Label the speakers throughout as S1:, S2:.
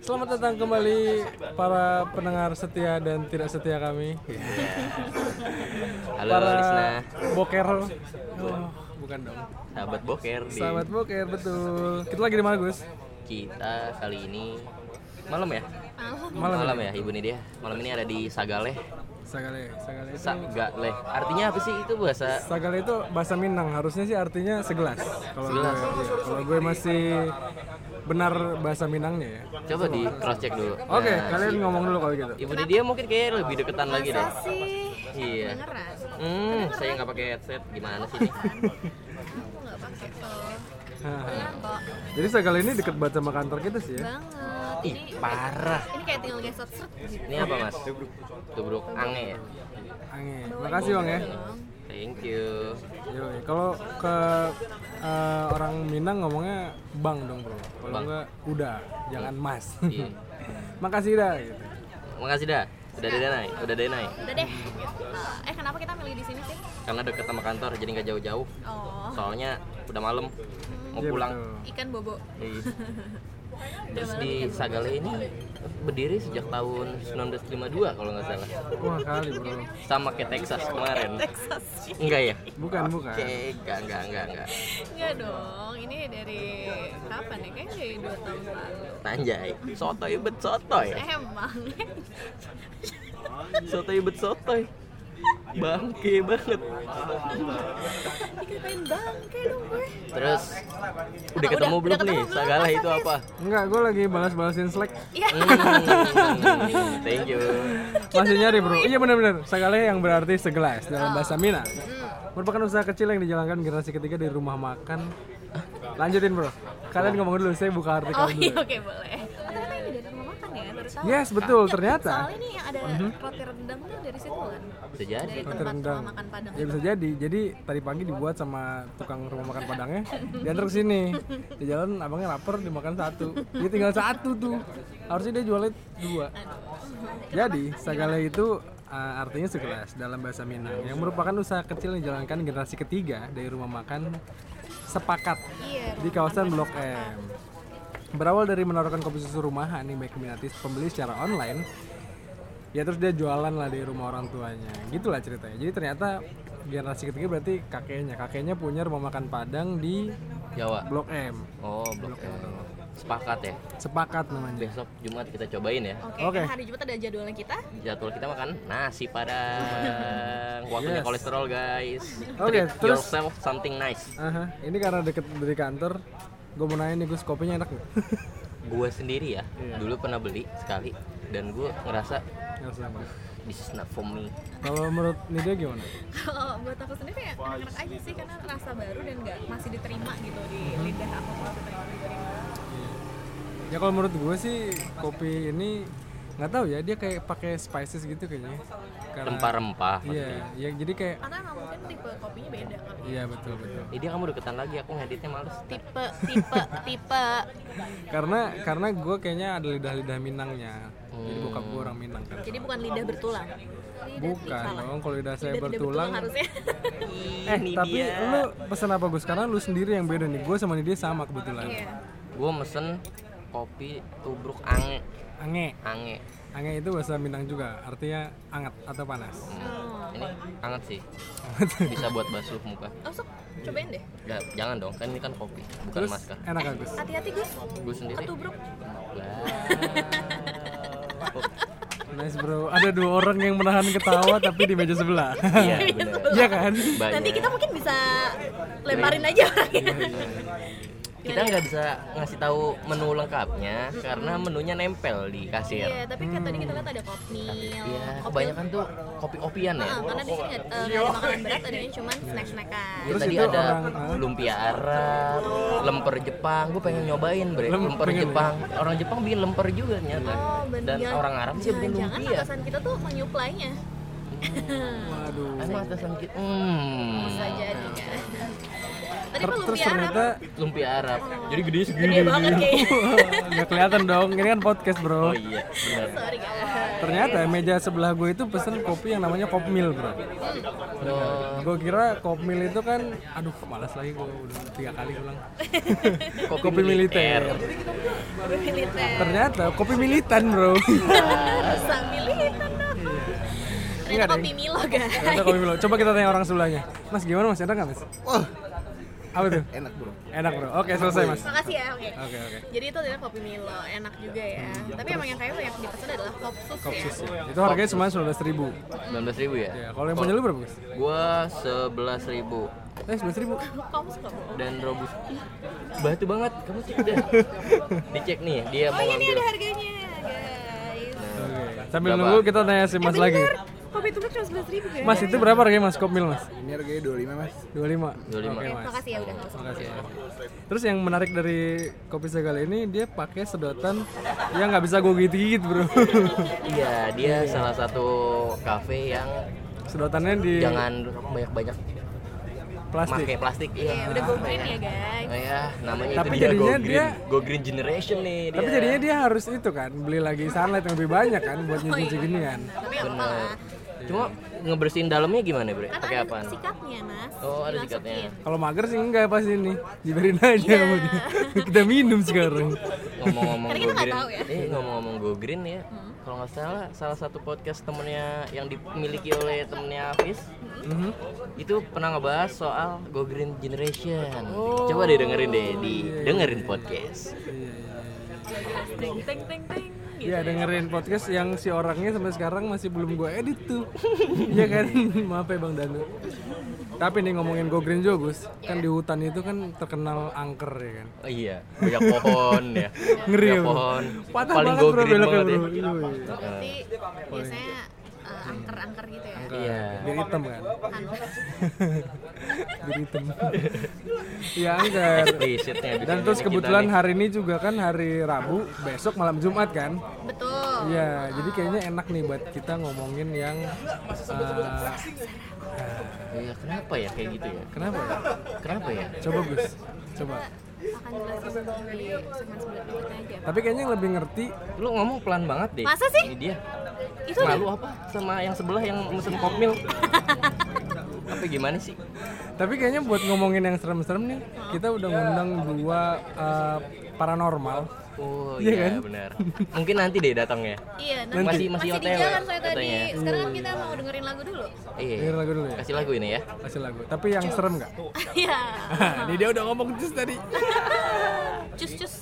S1: Selamat datang kembali para pendengar setia dan tidak setia kami.
S2: Halo
S1: Para
S2: Lisna,
S1: boker. Oh, bukan dong.
S2: sahabat boker di
S1: Sahabat boker betul. Kita lagi di mana, Gus?
S2: kita kali ini malam ya?
S1: Malam.
S2: ya, Ibu Nidia. Malam ini ada di Sagaleh.
S1: Sagale, sagale itu.
S2: Sagaleh. Artinya apa sih itu bahasa?
S1: Sagale itu bahasa Minang, harusnya sih artinya segelas. Kalau gue, iya. kalau gue masih benar bahasa Minangnya ya.
S2: Coba di cross check dulu.
S1: Oke,
S2: Nah,
S1: kalian
S2: si-
S1: ngomong dulu kalau gitu.
S2: Ibu Nidia mungkin kayak lebih deketan lagi deh.
S3: Masa sih?
S2: Iya.
S3: Beneran?
S2: Hmm, saya nggak pakai headset gimana sih nih?
S3: Aku nggak pakai tuh.
S1: Haha.
S3: Beneran kok.
S1: Jadi sagale ini deket banget sama kantor kita sih ya.
S3: Banget.
S2: Ih,
S3: Ini,
S2: parah.
S3: ini kayak tinggal gesot seret gitu.
S2: Ini apa, Mas? Tubruk. Tubruk ange ya.
S1: Angin. Makasih bang ya.
S2: Thank you.
S1: Yoi, kalau ke eh, orang Minang ngomongnya bang dong bro. Kalau
S2: Bang.
S1: enggak udah, jangan mas.
S2: Iya.
S1: Makasih dah. Gitu.
S2: Makasih dah. Udah ada naik, udah ada naik.
S3: Udah deh. Eh, Eh, kenapa kita milih di sini sih?
S2: Karena deket sama kantor jadi nggak jauh-jauh.
S3: Oh,
S2: Soalnya udah malam mau
S1: Iya,
S2: pulang.
S1: betul.
S3: ikan bobo.
S2: Iya. Terus di Sagale ini berdiri sejak tahun 1952 kalau nggak salah.
S1: Wah kali bro.
S2: Sama kayak Texas kemarin.
S3: Texas.
S2: Enggak ya?
S1: Bukan bukan.
S2: Oke, enggak, enggak, enggak, enggak.
S3: Enggak dong. Ini dari kapan ya? Kayaknya dari 2 tahun lalu.
S2: Anjay, sotoy bet sotoy.
S3: Emang.
S2: Sotoy bet sotoy. Bangke banget.
S3: Dikatain bangke dong gue.
S2: Terus udah
S3: Apa,
S2: ketemu
S3: udah-
S2: belum nih
S3: udah ketemu belum,
S2: Sagale
S3: Mas
S2: itu
S3: Hafiz?
S2: apa?
S1: Enggak, gue lagi balas-balasin Slack.
S3: Iya.
S2: Hmm, thank you.
S1: Masih nyari bro. Iya benar-benar. Sagale yang berarti segelas dalam
S2: Ah.
S1: bahasa Minang. Merupakan usaha kecil yang dijalankan generasi ketiga di rumah makan. Lanjutin bro. Kalian ngomong dulu, saya buka artikel
S3: Oh
S1: dulu.
S3: iya, oke boleh. Oh, ternyata ini dari rumah makan ya, baru tahu.
S1: Yes, betul. Ternyata
S3: Soalnya ini yang ada roti rendang tuh dari situ kan.
S2: Bisa jadi.
S3: Dari
S1: Roti
S3: tempat
S1: rendang.
S3: rumah makan Padang.
S1: Ya bisa jadi. Jadi tadi pagi dibuat sama tukang rumah makan Padangnya, diantar ke sini. Di jalan abangnya lapar dimakan satu. Dia tinggal satu tuh. Harusnya dia jualnya dua. Jadi sagale itu uh, artinya segelas dalam bahasa Minang yang merupakan usaha kecil yang dijalankan generasi ketiga dari rumah makan sepakat
S3: Iya.
S1: di kawasan Blok M. Berawal dari menawarkan kopi susu rumahan yang baik minati pembeli secara online, ya terus dia jualan lah di rumah orang tuanya. Gitulah ceritanya. Jadi ternyata generasi ketiga berarti kakeknya. Kakeknya punya rumah makan Padang di
S2: Jawa.
S1: Blok M.
S2: Oh, blok M. Sepakat ya.
S1: Sepakat namanya.
S2: Besok Jumat kita cobain ya.
S3: Oke,
S1: Oke.
S3: kan hari Jumat ada jadwalnya kita.
S2: jadwal kita makan nasi padang waktunya
S1: Yes.
S2: kolesterol guys
S1: Oke,
S2: Treat
S1: terus-
S2: yourself something nice
S1: Aha, ini karena deket dari kantor, gue mau nanya nih Gus, kopinya enak nggak?
S2: gue sendiri ya
S1: Iya.
S2: dulu pernah beli sekali dan gue ngerasa
S1: Nggak usah, Bang.
S2: this is not for me
S1: Kalau menurut Nida gimana?
S3: Kalau buat aku sendiri ya enak-enak aja sih karena rasa baru dan nggak masih diterima gitu di
S1: Mm-hmm.
S3: lidah aku kalau diterima diterima.
S1: Ya kalau menurut gue sih kopi ini nggak tahu ya dia kayak pakai spices gitu kayaknya. Karena
S2: rempah-rempah
S1: Iya, ya jadi kayak
S3: Karena emang mungkin tipe kopinya beda kali.
S1: iya betul betul.
S2: ini dia kamu deketan lagi aku ngeditnya males
S3: Tipe, tipe, tipe.
S1: Karena karena gue kayaknya ada lidah-lidah Minangnya. Jadi
S2: Oh.
S1: bokap gue orang Minang kan.
S3: Jadi bukan lidah bertulang.
S1: Bukan dong, kalau lidah saya
S3: Lidah tidak
S1: bertulang.
S3: bertulang harusnya.
S1: Eh, tapi lu pesan apa Gus? Karena lu sendiri yang beda nih. Gue sama dia sama kebetulan.
S3: Iya.
S2: gue mesen kopi tubruk ange
S1: Ange.
S2: ange
S1: Ange itu bahasa Minang juga, artinya anget atau panas.
S3: Oh.
S2: ini anget sih bisa buat basuh muka
S3: Oh, sok, cobain deh.
S2: Nggak, jangan dong kan ini kan kopi bukan masker
S1: Enak gak Gus?
S3: Hati-hati Gus.
S2: gue sendiri
S3: Ketubruk.
S2: Lah. Oh,
S1: Nice bro. Ada dua orang yang menahan ketawa tapi di meja sebelah.
S2: iya benar
S1: Iya kan?
S2: banyak
S3: Nanti kita mungkin bisa lemparin aja
S1: Iya,
S3: orangnya.
S2: kita nggak bisa ngasih tahu menu lengkapnya karena menunya nempel di kasir
S3: Iya, tapi kan tadi kita lihat ada kopmil.
S2: Iya,
S3: Kopmil-
S2: kebanyakan tuh kopi-kopian
S1: Iya.
S2: ya.
S3: Ah, karena di sini nggak eh, nggak ada makanan berat, adanya cuma snack-snackan.
S2: Ya,
S1: Terus
S2: tadi
S1: itu
S2: ada
S1: orang- ah.
S2: lumpia Arab, lemper Jepang. Gue pengen nyobain, bre.
S1: Lem-
S2: lemper
S1: pengen ya?
S2: Jepang. Orang Jepang bikin lemper juga ternyata.
S3: Oh, bener.
S2: Dan orang Arab sih bikin
S3: Jangan-jangan
S2: lumpia.
S3: atasan kita tuh menyuplainya.
S1: Waduh.
S2: Emang atasan kita. Hmm.
S3: Bisa jadi kan. Tadi
S1: Ah. Ter-
S3: kan
S1: terus
S3: lumpia Arab
S1: ternyata
S2: Lumpia Arab. Jadi gede segini.
S3: gede banget kayaknya.
S1: nggak kelihatan dong. Ini kan podcast bro.
S2: Oh iya, benar.
S3: Sorry guys.
S1: Ternyata meja sebelah gue itu pesen kopi yang namanya kopmil bro. Oh. Gue kira kopmil itu kan, aduh malas lagi gue udah tiga kali ulang.
S2: Eh,
S1: kopi, militer.
S3: militer
S1: Ternyata kopi militan bro. Ah.
S3: bisa militan dong
S1: Enggak
S3: ternyata
S1: deh.
S3: kopi Milo guys
S1: Iya. ya? Ternyata kopi milo. Coba kita tanya orang sebelahnya. Mas gimana mas enak nggak mas?
S4: Wah,
S1: Apa tuh?
S4: enak bro.
S1: Enak bro. Oke selesai mas.
S3: makasih ya oke
S1: Oke oke.
S3: jadi itu adalah kopi Milo enak juga ya tapi emang yang kayak banyak dipesan adalah kopsus ya
S1: Kopsus ya. Itu harganya cuma sembilan ribu.
S2: 19 ribu ya?
S1: Ya, kalau yang punya lu berapa mas?
S2: Gua 11 ribu
S1: Eh sebelas ribu.
S3: kopsus kok
S2: dan robust batu banget kamu cek dah dicek nih dia
S3: oh
S2: mau
S3: ini
S2: ngambil
S3: ada harganya guys
S1: Oke. Sambil
S2: Berapa?
S1: nunggu kita tanya si mas
S3: Eh,
S1: lagi.
S3: bentar, kopi itu cuma sebelas ribu guys
S1: Mas itu berapa harganya mas kopmil mas?
S4: Ini harganya 25 mas.
S1: 25.
S2: 25.
S1: Oke, Mas.
S3: makasih ya udah nggak usah
S1: Makasih. Terus yang menarik dari kopi segala ini dia pakai sedotan yang nggak bisa gue gigit-gigit bro.
S2: iya dia salah satu kafe yang
S1: Sedotannya di
S3: Iya.
S2: jangan banyak banyak
S1: plastik.
S2: pakai plastik iya
S3: ya udah go green ya guys
S2: Nah, ya namanya
S1: Tapi
S2: itu dia
S1: jadinya
S2: go green
S1: dia-
S2: go green generation nih dia.
S1: Tapi jadinya dia harus itu kan beli lagi sunlight yang lebih banyak kan buat nyuci gini kan.
S3: tapi nggak apa-apa lah
S2: cuma ngebersihin dalamnya gimana bre
S3: kan
S2: pakai
S3: ada
S2: apaan
S3: sikatnya mas
S2: oh ada
S3: Dimasukin.
S2: sikatnya
S1: Kalau mager sih enggak pas ini diberin aja sama dia. Kita minum sekarang.
S2: ngomong-ngomong go
S3: Karena kita nggak
S2: green
S3: tahu ya. Hmm.
S2: eh ngomong-ngomong go green ya kalau nggak salah salah satu podcast temennya yang dimiliki oleh temennya Hafiz
S1: Mhm.
S2: itu pernah ngebahas soal Go Green Generation.
S1: Oh.
S2: Coba deh dengerin deh
S1: Iya,
S2: di dengerin podcast.
S3: teng teng teng teng gitu.
S1: Iya dengerin podcast yang si orangnya sampai sekarang masih belum gue edit tuh Iya kan, maaf ya Bang Danu Tapi nih ngomongin Go Green Jogus Kan di hutan itu kan terkenal angker ya kan
S2: Oh, iya, banyak pohon ya.
S1: Ngeri
S2: Banyak
S1: ya, Bro.
S2: pohon.
S1: Patah
S2: Paling
S1: banget
S2: Go
S1: bro
S2: Green
S1: beloknya
S2: banget
S1: bro
S2: ya.
S1: Iya.
S3: berarti biasanya eh, angker-angker gitu ya
S2: Iya.
S1: Biar hitam kan
S3: angker
S1: Biar hitam Iya angker
S2: Explicitnya di
S1: Dan
S2: sini
S1: terus
S2: kita
S1: kebetulan
S2: nih.
S1: hari ini juga kan hari Rabu Besok malam Jumat kan
S3: betul
S1: Iya, jadi kayaknya enak nih buat kita ngomongin yang eh,
S2: Iya, kenapa ya kayak gitu ya?
S1: Kenapa ya?
S2: Kenapa ya?
S1: Coba Gus, coba
S3: akan jelasin di segmen sebelah berikutnya aja
S1: Tapi kayaknya yang lebih ngerti
S2: Lu ngomong pelan banget deh.
S3: Masa sih?
S2: Ini dia.
S3: itu udah
S2: Malu apa sama yang sebelah yang mesen kopmil? apa gimana sih?
S1: Tapi kayaknya buat ngomongin yang serem-serem nih, kita udah ngundang dua eh, paranormal.
S2: Oh
S1: Iya
S2: iya,
S1: kan?
S2: benar. Mungkin nanti deh datang ya.
S3: iya nanti
S2: Masih
S3: masih,
S2: masih
S3: di
S2: OTW
S3: jalan saya tadi
S2: katanya. Hmm.
S3: sekarang kan kita mau dengerin lagu dulu
S1: Dengar
S2: Iya.
S1: lagu dulu ya,
S2: Kasih lagu ini ya.
S1: kasih lagu. Tapi yang serem nggak? Nah,
S3: iya
S1: Ini dia udah ngomong terus tadi.
S3: cus cus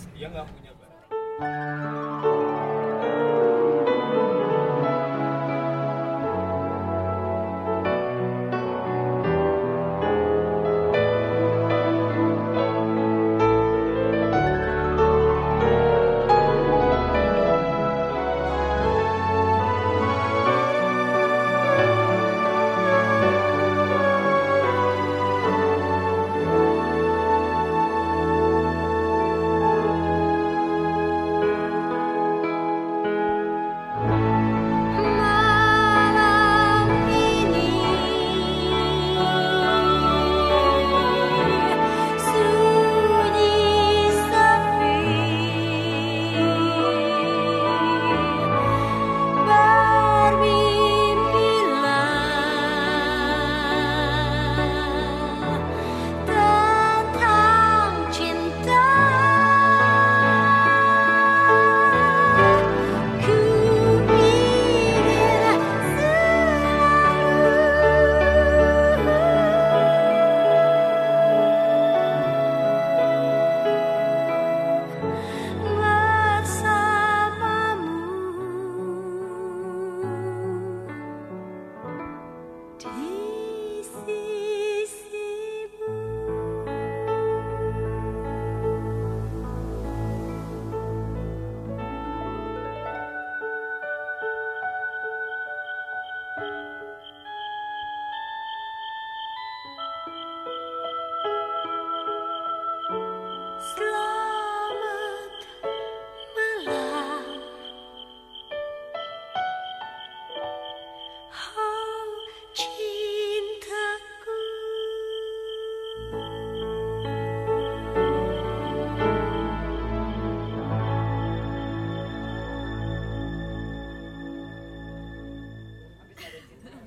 S5: Thank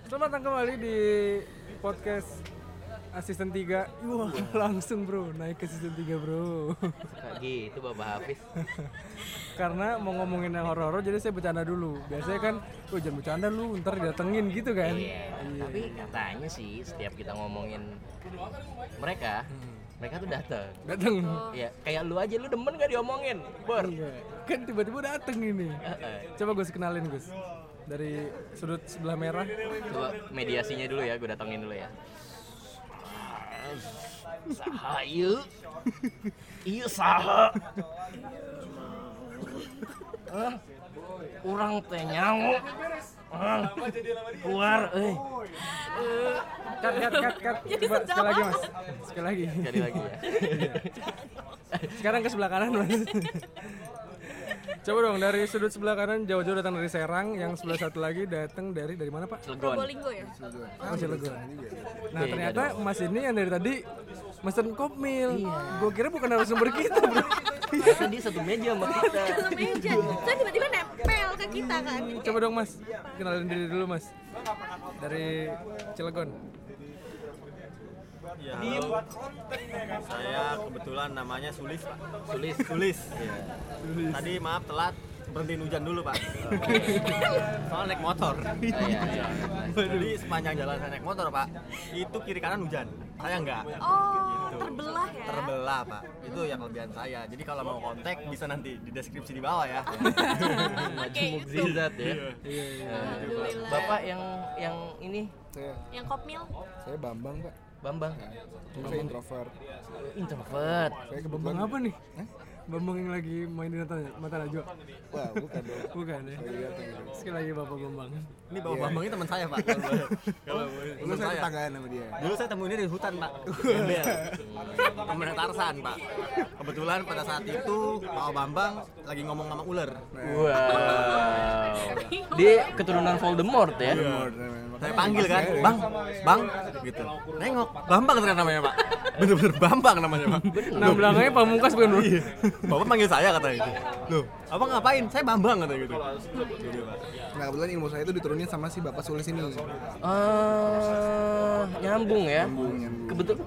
S1: Selamat datang kembali di podcast asisten 3 Wah langsung bro naik ke season 3 bro
S2: Suka gitu Bapak Hafiz.
S1: Karena mau ngomongin yang horor-horor jadi saya bercanda dulu Biasanya kan, oh jangan bercanda lu ntar didatengin gitu kan
S2: Iya. Tapi katanya sih setiap kita ngomongin mereka, mereka tuh datang.
S1: Dateng
S2: Iya, kayak lu aja lu demen gak diomongin, Bor.
S1: Enggak. Kan tiba-tiba dateng ini
S2: Heeh.
S1: Coba gue kenalin Gus Dari sudut sebelah merah
S2: Coba mediasinya dulu ya, gue datengin dulu ya. Saha iya. Iya saha. Eh, Urang teh nyawa. Eh, Keluar eh. euy.
S1: Cut, cut, cut, cut Coba sekali lagi mas Sekali lagi
S2: Jadi lagi ya.
S1: Sekarang ke sebelah kanan mas Coba dong dari sudut sebelah kanan jauh-jauh datang dari Serang, yang sebelah satu lagi datang dari dari mana pak?
S2: Cilegon.
S3: Probolinggo ya?
S1: Oh, Cilegon. Nah ternyata Mas ini yang dari tadi mesen kopmil. Gue kira bukan narasumber kita bro.
S2: Kan dia satu meja sama kita.
S3: Satu meja. Kan tiba-tiba nempel ke kita kan.
S1: Coba dong Mas, kenalin diri dulu Mas. Dari Cilegon.
S4: Ya, halo. Saya kebetulan namanya Sulis, Pak.
S2: Tulis.
S4: Sulis. Iya. Tadi maaf telat, berhentiin hujan dulu, Pak. Soalnya naik motor.
S2: Ah, iya, iya.
S4: Jadi sepanjang jalan saya naik motor, Pak, itu kiri kanan hujan. Saya enggak.
S3: Oh, terbelah ya.
S4: Terbelah, Pak. Itu yang kelebihan saya. Jadi kalau mau kontak bisa nanti di deskripsi di bawah ya.
S3: Oke, itu.
S2: Mukjizat ya.
S1: Iya, iya.
S3: Alhamdulillah.
S2: Bapak yang yang ini
S5: saya
S3: yang Oh, kopmil
S5: saya Bambang pak
S2: Bambang
S5: Cuma saya introvert
S2: introvert.
S5: saya kebetulan
S1: Bambang apa nih? Bambang yang lagi main di Mata, mata Najwa?
S5: wah bukan dong
S1: Bukan ya?
S5: saya lihat yang itu
S1: Sekali lagi Bapak Bambang.
S4: Ini bawa bambangnya teman saya, Pak. Iya. Kalau boleh- Kalau boleh.
S5: lu
S4: Teman
S5: saya
S4: saya.
S5: tetanggaan sama dia
S4: Dulu saya temuinnya di hutan, Pak. Gembel. Temennya Tarsan, Pak. Kebetulan pada saat itu Pak Bambang lagi ngomong sama ular.
S2: Wow. Dia keturunan Voldemort ya.
S4: Iya.
S5: Iya.
S4: Saya panggil kan, Bang, Bang, gitu. Nengok, Bambang ternyata namanya, Pak. Bener-bener Bambang namanya, Pak.
S1: Nah belakangnya Pamungkas bukan bro?
S5: Iya.
S4: Bapak manggil saya katanya gitu. Loh, Abang ngapain? Saya Bambang katanya gitu. Gitu, Pak.
S5: nah kebetulan ilmu saya itu diturunin sama si bapak sulis ini
S2: Ah, nyambung ya.
S5: nyambung.
S2: Kebetulan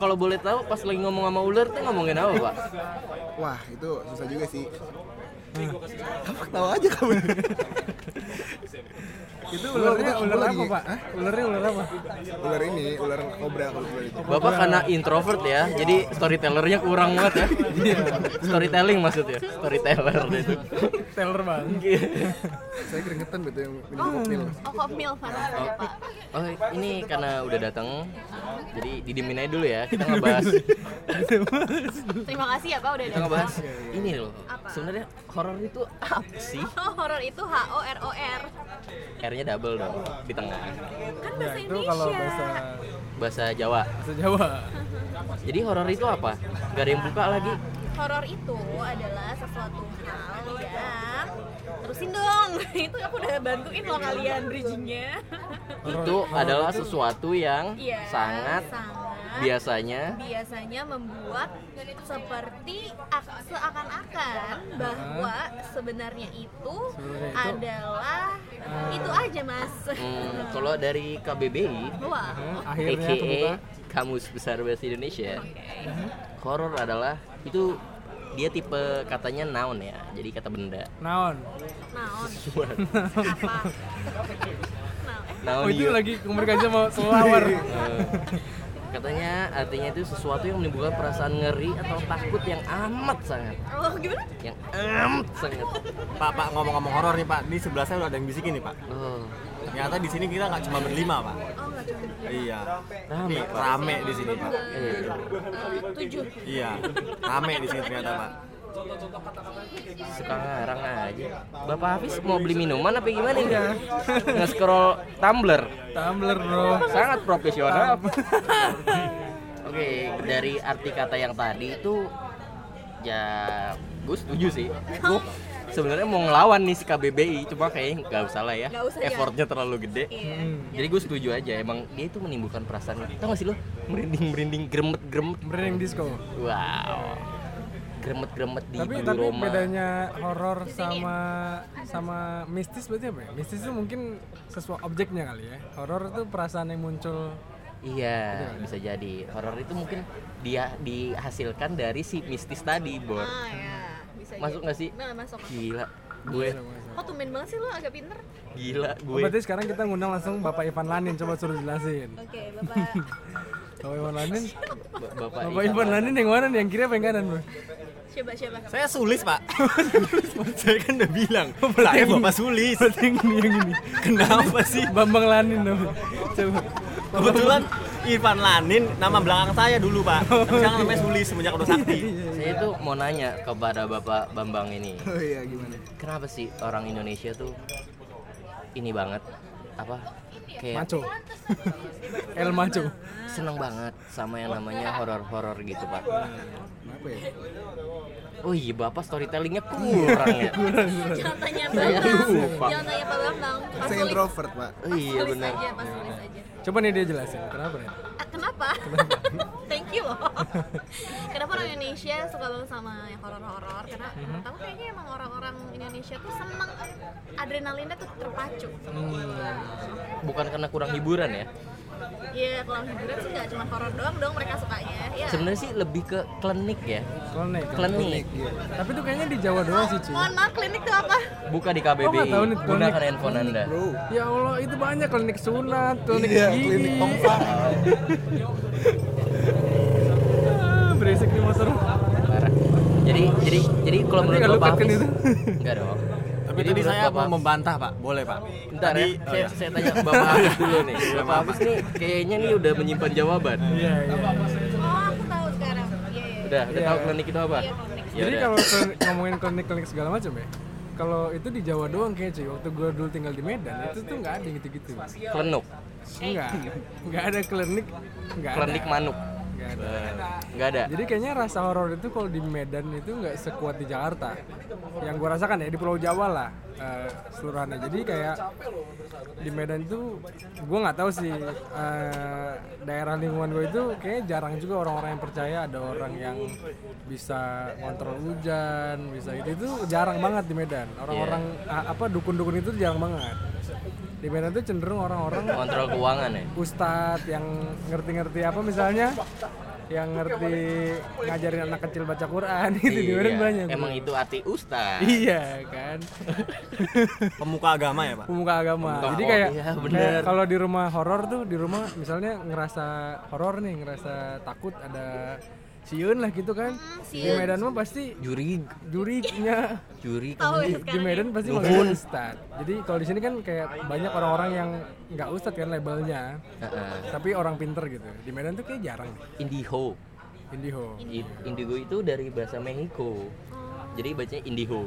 S2: kalau boleh tahu pas lagi ngomong sama ular tuh ngomongin apa, Pak?
S5: wah itu susah juga sih
S4: Kamu tahu aja kamu.
S1: Itu ularnya
S5: Gua- gua
S1: ular apa
S5: lagi-
S1: pak?
S5: Hah?
S1: Ularnya ular apa?
S5: ular ini ular kobra kalau ular itu
S2: Bapak karena introvert ya, jadi storytellernya kurang banget ya. Storytelling maksudnya, storyteller itu.
S1: Teller bang.
S5: saya keringetan betul yang minum
S1: Hmm.
S3: oh,
S5: kokmil
S3: oh kopmil parah saya pak
S2: Oh, ini karena udah datang. Jadi didimin aja dulu ya. Kita ngebahas
S3: terima kasih ya pak udah
S2: kita
S3: datang
S2: ngebahas ini loh.
S3: Apa?
S2: Sebenarnya horor itu apa sih?
S3: oh horor itu H O R O R
S2: R-nya double dong di tengah.
S3: kan
S1: Ya
S3: bahasa
S1: itu kalau bahasa
S3: Indonesia
S2: Bahasa Jawa.
S1: bahasa Jawa.
S2: Jadi horor itu apa? Gak ada yang buka lagi.
S3: horor itu adalah sesuatu hal yang terusin dong itu aku udah bantuin loh kalian bridgingnya
S2: Itu adalah sesuatu yang
S3: iya
S2: sangat
S3: sangat
S2: biasanya
S3: biasanya membuat seperti ak- seakan-akan bahwa sebenarnya itu
S1: Sebenarnya itu- Ah.
S3: adalah itu aja mas
S2: hmm, kalau dari KBBI
S3: Wah.
S1: Akhirnya kebuka.
S2: aka Kamus Besar Bahasa Indonesia. Horor adalah itu dia tipe katanya noun ya. Jadi kata benda.
S1: Naon.
S3: Naon.
S2: Cuman
S3: Apa? Naon. Eh,
S2: noun
S1: Oh itu
S2: you.
S1: lagi komunikasi mau selawar.
S5: Iya.
S2: Eh, katanya artinya itu sesuatu yang menimbulkan perasaan ngeri atau takut yang amat sangat
S3: oh, gimana?
S2: yang amat sangat
S4: Pak, Pak ngomong-ngomong horor nih, Pak. Di sebelah saya udah ada yang bisikin nih, Pak.
S2: oh,
S4: Ternyata di sini kita nggak cuma berlima, Pak.
S3: Oh, nggak cuma berdua.
S4: Iya.
S2: rame
S4: Nih, rame di sini, Pak.
S2: Eh,
S3: Eh, tujuh.
S4: Iya. Rame di sini ternyata, Pak.
S2: sekarang aja bapak Hafiz mau beli minuman apa gimana ini
S1: Iya.
S2: nge scroll tumbler
S1: Tumbler bro.
S2: sangat profesional oke dari arti kata yang tadi itu ya gue setuju sih gue sebenarnya mau ngelawan nih si KBBI cuma kayaknya nggak usah lah ya
S3: Nggak usah ya.
S2: effortnya terlalu gede
S3: Iya.
S2: Jadi gue setuju aja, emang dia itu menimbulkan perasaan Tau gak sih lo? Merinding-merinding, gremet-gremet
S1: Branding disco.
S2: Wow gremet-gremet di
S1: tapi
S2: Bulu
S1: tapi
S2: Roma.
S1: bedanya horor sama sama mistis berarti apa ya? Mistis itu mungkin sesuai objeknya kali ya. Horor itu perasaan yang muncul
S2: Iya, bisa jadi. Horor itu mungkin dia dihasilkan dari si mistis tadi, Bor.
S3: ah ya bisa
S2: Masuk
S3: jadi.
S2: nggak sih?
S3: nah masuk masuk
S2: Gila, gue
S1: Iya,
S3: kok tumben banget sih lo agak pinter
S2: gila
S1: Oh,
S2: gue.
S1: berarti sekarang kita ngundang langsung Bapak Ivan Lanin coba suruh jelasin.
S3: oke bapak
S1: Bapak Ivan Lanin,
S2: Ba- Bapak,
S1: Bapak Ivan Lanin yang mana nih? Yang kiri apa yang kanan, Bro?
S3: coba coba
S4: Saya sulis pak. saya kan udah bilang. Lah ya bapak sulis.
S1: Berarti yang ini, yang ini.
S4: Kenapa sih?
S1: Bambang Lanin nama. Coba.
S4: Kebetulan Ivan Lanin nama belakang saya dulu pak. Tapi sekarang namanya sulis semenjak udah sakti.
S1: Iya,
S2: Saya tuh mau nanya kepada Bapak Bambang ini.
S5: oh iya gimana
S2: Kenapa sih orang Indonesia tuh ini banget apa kayak
S1: Maco. El Maco.
S2: seneng banget sama yang namanya horor-horor gitu, Pak.
S1: Iya.
S5: kenapa ya
S2: Oh iya, Bapak storytellingnya kurang ya.
S3: jangan tanya
S2: Saya
S3: bambang
S2: lupa.
S3: jangan tanya pak bambang pas
S5: saya
S3: tulis
S5: introvert pak
S2: Oh iya
S3: tulis
S2: benar.
S3: aja pas tulis aja
S1: Coba nih dia jelasin kenapa ya?
S3: Ah, kenapa? Thank you loh. kenapa orang Indonesia suka banget sama yang horor-horor? Karena
S2: Hmm.
S3: menurut aku kayaknya emang orang-orang Indonesia tuh seneng adrenalinnya tuh terpacu.
S1: Hmm,
S2: Bukan karena kurang hiburan ya.
S3: Iya, kalau hiburan sih nggak cuma horor doang dong mereka sukanya. Ya.
S2: Sebenarnya sih lebih ke klinik ya.
S1: Klinik. iya.
S2: Klinik.
S1: Tapi tuh kayaknya di Jawa doang sih, cuy.
S3: Mohon maaf klinik tuh apa?
S2: Buka di
S1: Oh,
S2: KBBI.
S1: nggak tahu nih,
S2: Gunakan
S1: klinik.
S2: handphone Anda.
S5: bro
S1: Ya Allah, itu banyak klinik sunat, klinik
S5: iya
S1: gigi.
S5: klinik tongfang
S1: Ah, Berisik nih motor.
S2: Parah. Jadi jadi jadi kalau
S1: Nanti
S2: menurut
S1: nggak gitu?
S2: Bapak
S1: lupakan
S2: Hafiz,
S1: itu.
S2: enggak dong.
S4: Tapi
S2: Jadi
S1: Iya,
S4: tadi
S2: menurut
S4: saya
S2: Bapak-
S4: mau membantah pak. Boleh pak.
S2: Bentar ya,
S4: Tadi- oh,
S2: saya,
S4: iya.
S2: saya tanya Bapak Hafiz dulu nih. Bapak Hafiz nih kayaknya nih udah menyimpan jawaban.
S1: Iya, iya.
S3: Oh, aku tahu sekarang. Iya, iya.
S2: Udah, udah tahu klinik itu apa?
S3: Iya, klinik.
S2: Ya
S1: Jadi
S2: udah.
S1: kalau kl- ngomongin klinik-klinik segala macam ya, kalau itu di Jawa doang kayak cuy. Waktu gue dulu tinggal di Medan, itu tuh nggak ada yang gitu-gitu.
S2: klenuk,
S1: Enggak, nggak ada klinik, nggak ada.
S2: klinik manuk.
S1: Nggak ada.
S2: Enggak ada.
S1: Jadi kayaknya rasa horor itu kalau di Medan itu nggak sekuat di Jakarta. Yang gue rasakan ya di Pulau Jawa lah eh, seluruhannya. Jadi kayak di Medan itu gue nggak tahu sih eh, daerah lingkungan gue itu kayaknya jarang juga orang-orang yang percaya ada orang yang bisa ngontrol hujan, bisa itu itu jarang banget di Medan. Orang-orang a- apa dukun-dukun itu jarang banget. Di Medan itu cenderung orang-orang
S2: Kontrol keuangan ya.
S1: ustadz yang ngerti-ngerti apa misalnya yang ngerti ngajarin anak kecil baca Quran gitu di Medan
S2: Iya,
S1: banyak
S2: Emang itu arti ustaz.
S1: iya kan
S4: Pemuka agama ya pak.
S1: pemuka agama
S2: Pemuka
S1: jadi
S2: agama,
S1: kayak,
S2: iya,
S1: kayak
S2: bener.
S1: kalau di rumah horor tuh di rumah misalnya ngerasa horor nih ngerasa takut ada siun lah gitu kan di Medan mah pasti
S2: Juri,
S1: juriknya
S2: juri. kan,
S3: Tahu ya
S1: di
S3: sekarang.
S1: Medan pasti manggilnya ustad. Jadi kalau di sini kan kayak banyak orang-orang yang nggak ustad kan labelnya,
S2: Heeh.
S1: tapi orang pinter gitu. Di Medan tuh kayak jarang.
S2: Indiho.
S1: Indiho.
S2: I- Indigo itu dari bahasa
S3: Oh.
S2: Meksiko. Jadi bacanya Indiho.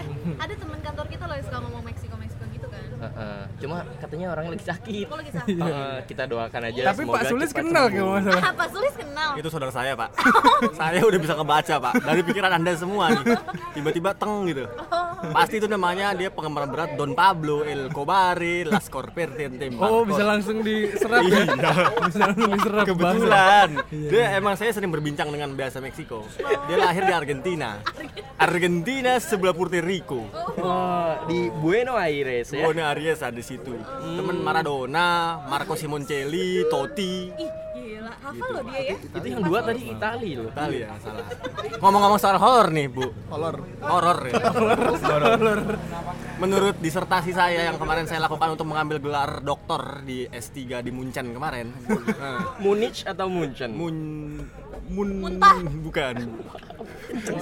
S3: Eh, ada teman kantor kita loh yang suka ngomong Meksiko Meksiko gitu kan.
S2: Heeh. Cuma katanya orangnya lagi sakit.
S3: Kok Oh, lagi sakit?
S2: Heeh, kita doakan
S1: Tapi
S2: aja.
S1: Pak
S2: Iya, semoga
S1: Sulis
S2: cepat
S1: kenal
S2: sembuh.
S1: kalau nggak salah.
S3: Ah, Pak Sulis kenal.
S4: Itu saudara saya pak. saya udah bisa kebaca pak. Dari pikiran anda semua nih. Tiba-tiba teng gitu. Pasti itu namanya dia penggemar berat Don Pablo, El Cobari, Las Corper, Tentem.
S1: Oh bisa langsung diserap ya? bisa langsung diserap bahasa.
S4: Kebetulan.
S1: Iya.
S4: Dia emang saya sering berbincang dengan bahasa Meksiko. Dia lahir di Argentina. Argentina sebelah Puerto Rico.
S2: Oh, di Buenos Aires ya.
S4: Buenos Aires ada di situ. Temen Maradona, Marco Simoncelli, Totti.
S3: Ih, gila. Hafal loh dia ya.
S2: Itu yang dua tadi Itali loh.
S4: Itali ya salah. Ngomong-ngomong soal horor nih, Bu.
S5: kolor
S4: Horor ya. Horor. Menurut disertasi saya yang kemarin saya lakukan untuk mengambil gelar doktor di S3 di Munchen kemarin. Nah,
S2: Munich atau Munchen?
S4: Mun Mun
S3: Muntah.
S4: bukan.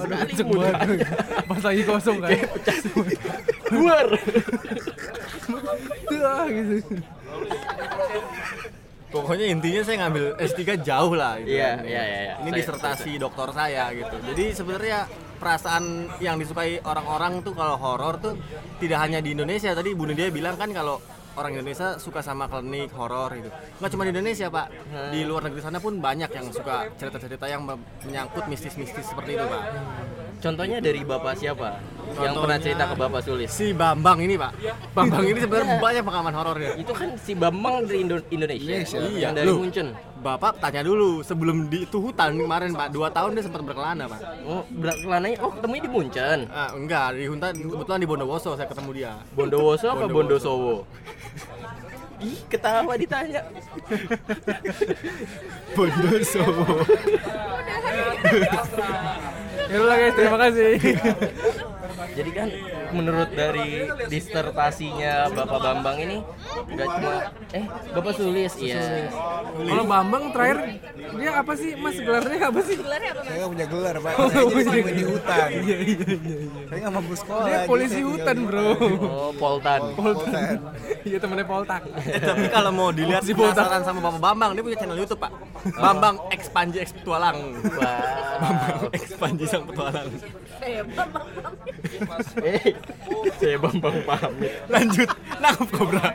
S1: Cek banget. Pas lagi kosong kan?
S2: Luar.
S1: Tuh gitu.
S4: Pokoknya intinya saya ngambil S3 jauh lah gitu.
S2: Iya, iya, iya, iya.
S4: Ini
S2: Saya-
S4: disertasi doktor saya gitu. Jadi sebenarnya perasaan yang disukai orang-orang tuh kalau horor tuh tidak hanya di Indonesia. Tadi Ibu Nadia bilang kan kalau orang Indonesia suka sama klinik horor gitu. Nggak cuma di Indonesia, Pak.
S2: Hmm.
S4: Di luar negeri sana pun banyak yang suka cerita-cerita yang me- menyangkut mistis-mistis seperti itu, Pak.
S2: Contohnya dari Bapak siapa? Yang
S4: Contohnya-
S2: pernah cerita ke Bapak Sulis.
S4: Si Bambang ini, Pak. Bambang ini sebenarnya banyak pengalaman horornya.
S2: Itu kan si Bambang dari Indo- Indonesia.
S4: Iya.
S5: Indonesia.
S2: Yang dari
S4: Loh,
S2: Munchen.
S4: bapak tanya dulu sebelum di itu hutan kemarin pak dua tahun dia sempat berkelana pak
S2: Oh, berat celananya, oh ketemunya di Munchen.
S4: Ah, enggak di hutan kebetulan di Bondowoso saya ketemu dia
S2: Bondowoso apa
S4: Bondowoso.
S2: Bondosowo? Ih, ketawa ditanya.
S4: Bondowoso
S1: Ya udah guys, terima kasih.
S2: Jadi kan menurut dari disertasinya Bapak Bambang ini nggak cuma eh Bapak Sulis iya.
S1: Kalau Bambang terakhir dia apa sih Mas gelarnya apa sih?
S3: Gelarnya apa
S5: Saya
S3: mas?
S5: nggak punya gelar, Pak.
S1: Oh,
S5: Saya jadi penghuni di hutan. Saya nggak mampu sekolah.
S1: iya. Dia
S5: jadi
S1: polisi
S5: saya tinggal
S1: hutan,
S5: di
S1: Bro.
S2: Oh, Poltan.
S5: Poltan.
S1: Iya temennya Poltak.
S4: Eh, tapi kalau mau dilihat
S1: Si Botak.
S4: penasaran sama Bapak Bambang, dia punya channel YouTube, Pak. Bambang X Panji X Petualang.
S2: Wow.
S4: Bambang X Panji Sang Petualang.
S3: Eh, bang, bang, bang.
S2: Eh, saya Bambang pamit.
S4: Lanjut, nangkep kobra.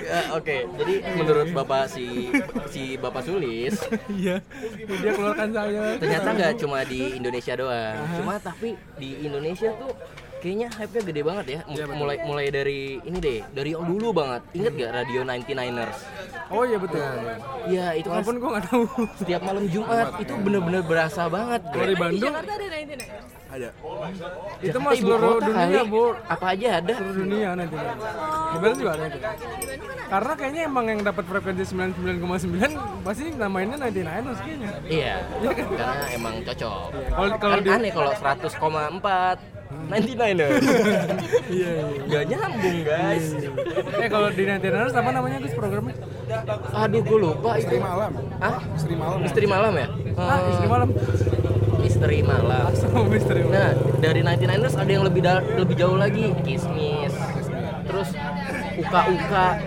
S2: Ya, Oke, jadi menurut Bapak si si Bapak Sulis
S1: Iya. Dia keluarkan saya.
S2: ternyata nggak cuma di Indonesia doang. Cuma tapi di Indonesia tuh kayaknya hype-nya gede banget ya.
S1: Iya,
S2: Mu- Mulai mulai dari ini deh, dari yang dulu banget. Ingat gak Radio 99ers?
S1: Oh iya betul.
S2: Iya, itu kan
S1: Walaupun gua nggak tahu.
S2: setiap malam Jumat itu bener-bener berasa banget. Bre.
S1: Dari Bandung
S3: Jakarta ada nanti nih.
S5: Ada.
S1: itu
S2: Jakarta
S1: mah
S2: Iya, ibu
S1: seluruh
S2: kota
S1: dunia,
S2: kali.
S1: Bu.
S2: Apa aja ada.
S1: Seluruh dunia nanti. Sebenarnya juga ada itu. Karena kayaknya emang yang dapat frekuensi 99,9 pasti namainnya 99 kayaknya.
S2: Iya, karena emang cocok.
S1: Kalau kalau
S2: Kan
S1: di eh,
S2: aneh kalau 100,4 99ers.
S1: iya iya.
S2: Gak nyambung, guys.
S1: Eh kalau di Nantiners apa namanya Gus programnya?
S2: Aduh, gue lupa itu.
S5: Misteri malam.
S2: Hah?
S5: Misteri malam.
S2: Misteri malam ya?
S1: Ah, istri malam.
S2: Eh, misteri malam.
S1: Sama misteri malam.
S2: Nah, dari 99ers ada yang lebih da- lebih jauh lagi, Kismis. Terus Uka-uka.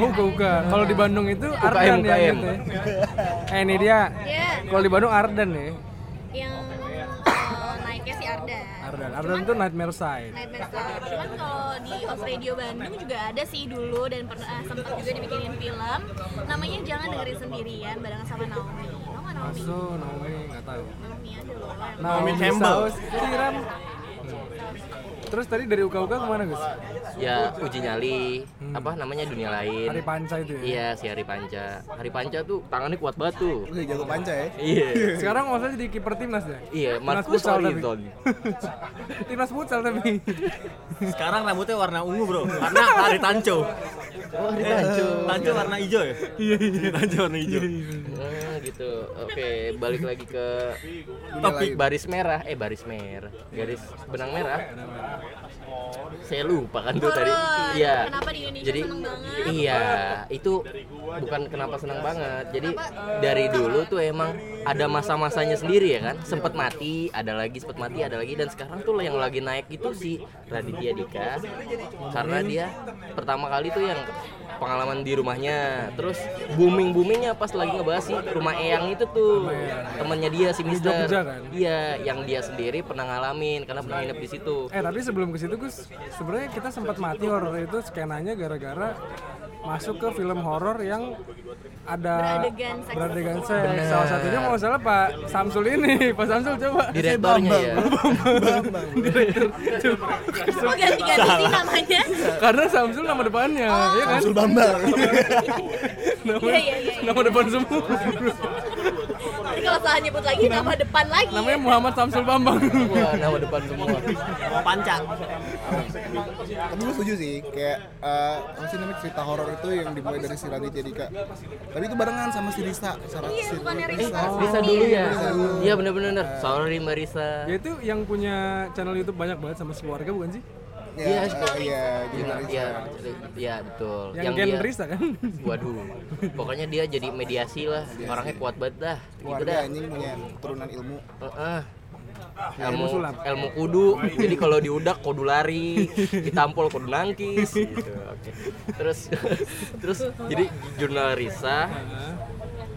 S1: Oh, uka uka. Kalau di Bandung itu Ardan
S2: UKM.
S1: ya gitu. ya. Eh ini dia.
S3: Iya,
S1: Kalau di Bandung Ardan ya.
S3: yang eh, naiknya si Arda.
S1: Ardan. Ardan tuh Nightmare Side.
S3: Nightmare Star. Cuman kalau di Off Radio Bandung juga ada sih dulu dan pernah ah, sempat juga dibikinin film. Namanya Jangan Dengerin Sendirian bareng sama Naomi. Tau nggak Naomi?
S1: So, Naomi nggak tahu.
S3: Naomi ada loh. yang-
S1: Naomi
S4: Campbell.
S1: Saus siram. Terus tadi dari uka uka kemana Gus?
S2: Ya, uji nyali, apa namanya dunia lain.
S1: Hari Panca itu ya.
S2: Iya, si Hari Panca. Hari Panca tuh tangannya kuat banget tuh.
S5: Oke, jago panca ya.
S2: Iya.
S1: Sekarang maksudnya jadi kiper timnas ya?
S2: Iya,
S1: Timnas
S2: Marcus
S1: futsal tapi.
S2: Horizon.
S1: timnas futsal tapi.
S4: Sekarang rambutnya warna ungu, Bro. Karena lari tanco. Eh,
S2: Oh, Hari Panca.
S4: Tanco warna hijau ya? Iya, iya. Tanco warna hijau.
S2: Ah, gitu. Oke, balik lagi ke
S4: Topik.
S2: baris merah. Eh, baris merah. Garis benang merah. Saya lupa kan tuh tadi.
S3: Horor.
S2: Iya.
S3: Kenapa di Indonesia
S2: Jadi
S3: seneng banget?
S2: iya, itu bukan kenapa senang banget. Jadi dari dulu tuh emang ada masa-masanya sendiri ya kan. Sempet mati, ada lagi sempet mati, ada lagi dan sekarang tuh yang lagi naik itu si Raditya Dika. Karena dia pertama kali tuh yang pengalaman di rumahnya terus booming boomingnya pas lagi ngebahas si rumah Eyang itu tuh temennya dia si Mister
S1: Jogja kan?
S2: iya yang dia sendiri pernah ngalamin karena pernah nginep di situ
S1: eh tapi sebelum ke situ Gus, sebenarnya kita sempat mati horor itu skenanya gara-gara masuk ke film horor yang ada
S3: Beradegan seks.
S1: beradegan seks. Salah satunya mau salah Pak Samsul ini, Pak Samsul coba.
S2: direkturnya ya
S5: Bambang.
S3: Oh ganti-ganti sih namanya.
S1: Karena Samsul nama depannya, ya kan?
S5: Sul Bambang.
S1: Nama,
S3: Oh. Iya, iya, iya.
S1: nama depan semua.
S3: Nanti kalau salah nyebut lagi nama depan lagi.
S1: Namanya Muhammad Samsul Bambang.
S2: Wah, nama depan semua.
S4: Mau panca.
S5: Tapi gue setuju sih, kayak eh, apa sih namanya cerita horor itu yang dimulai dari si Raditya Dika. Tapi itu barengan sama si Risa, sama
S3: Iya,
S5: si
S3: bukannya
S5: Risa.
S1: Oh.
S3: Risa.
S2: Bisa dulu ya. Iya bener-bener. Sorry Marisa.
S1: Dia itu yang punya channel YouTube banyak banget sama sekeluarga bukan sih?
S2: Iya,
S5: Iya, eh, iya, di
S2: Iya,
S5: mana Risa.
S2: iya, iya betul.
S1: Yang, Gen
S2: dia-
S1: Risa kan?
S2: Waduh. Pokoknya dia jadi mediasi lah. Orangnya kuat banget dah. Gitu
S5: Keluarga
S2: dah.
S5: anjing punya keturunan ilmu.
S2: Heeh. Ilmu,
S1: ilmu sulap.
S2: ilmu kudu. Jadi kalau diudak kudu lari, ditampol kudu nangkis gitu. Oke. Terus terus jadi jurnal Risa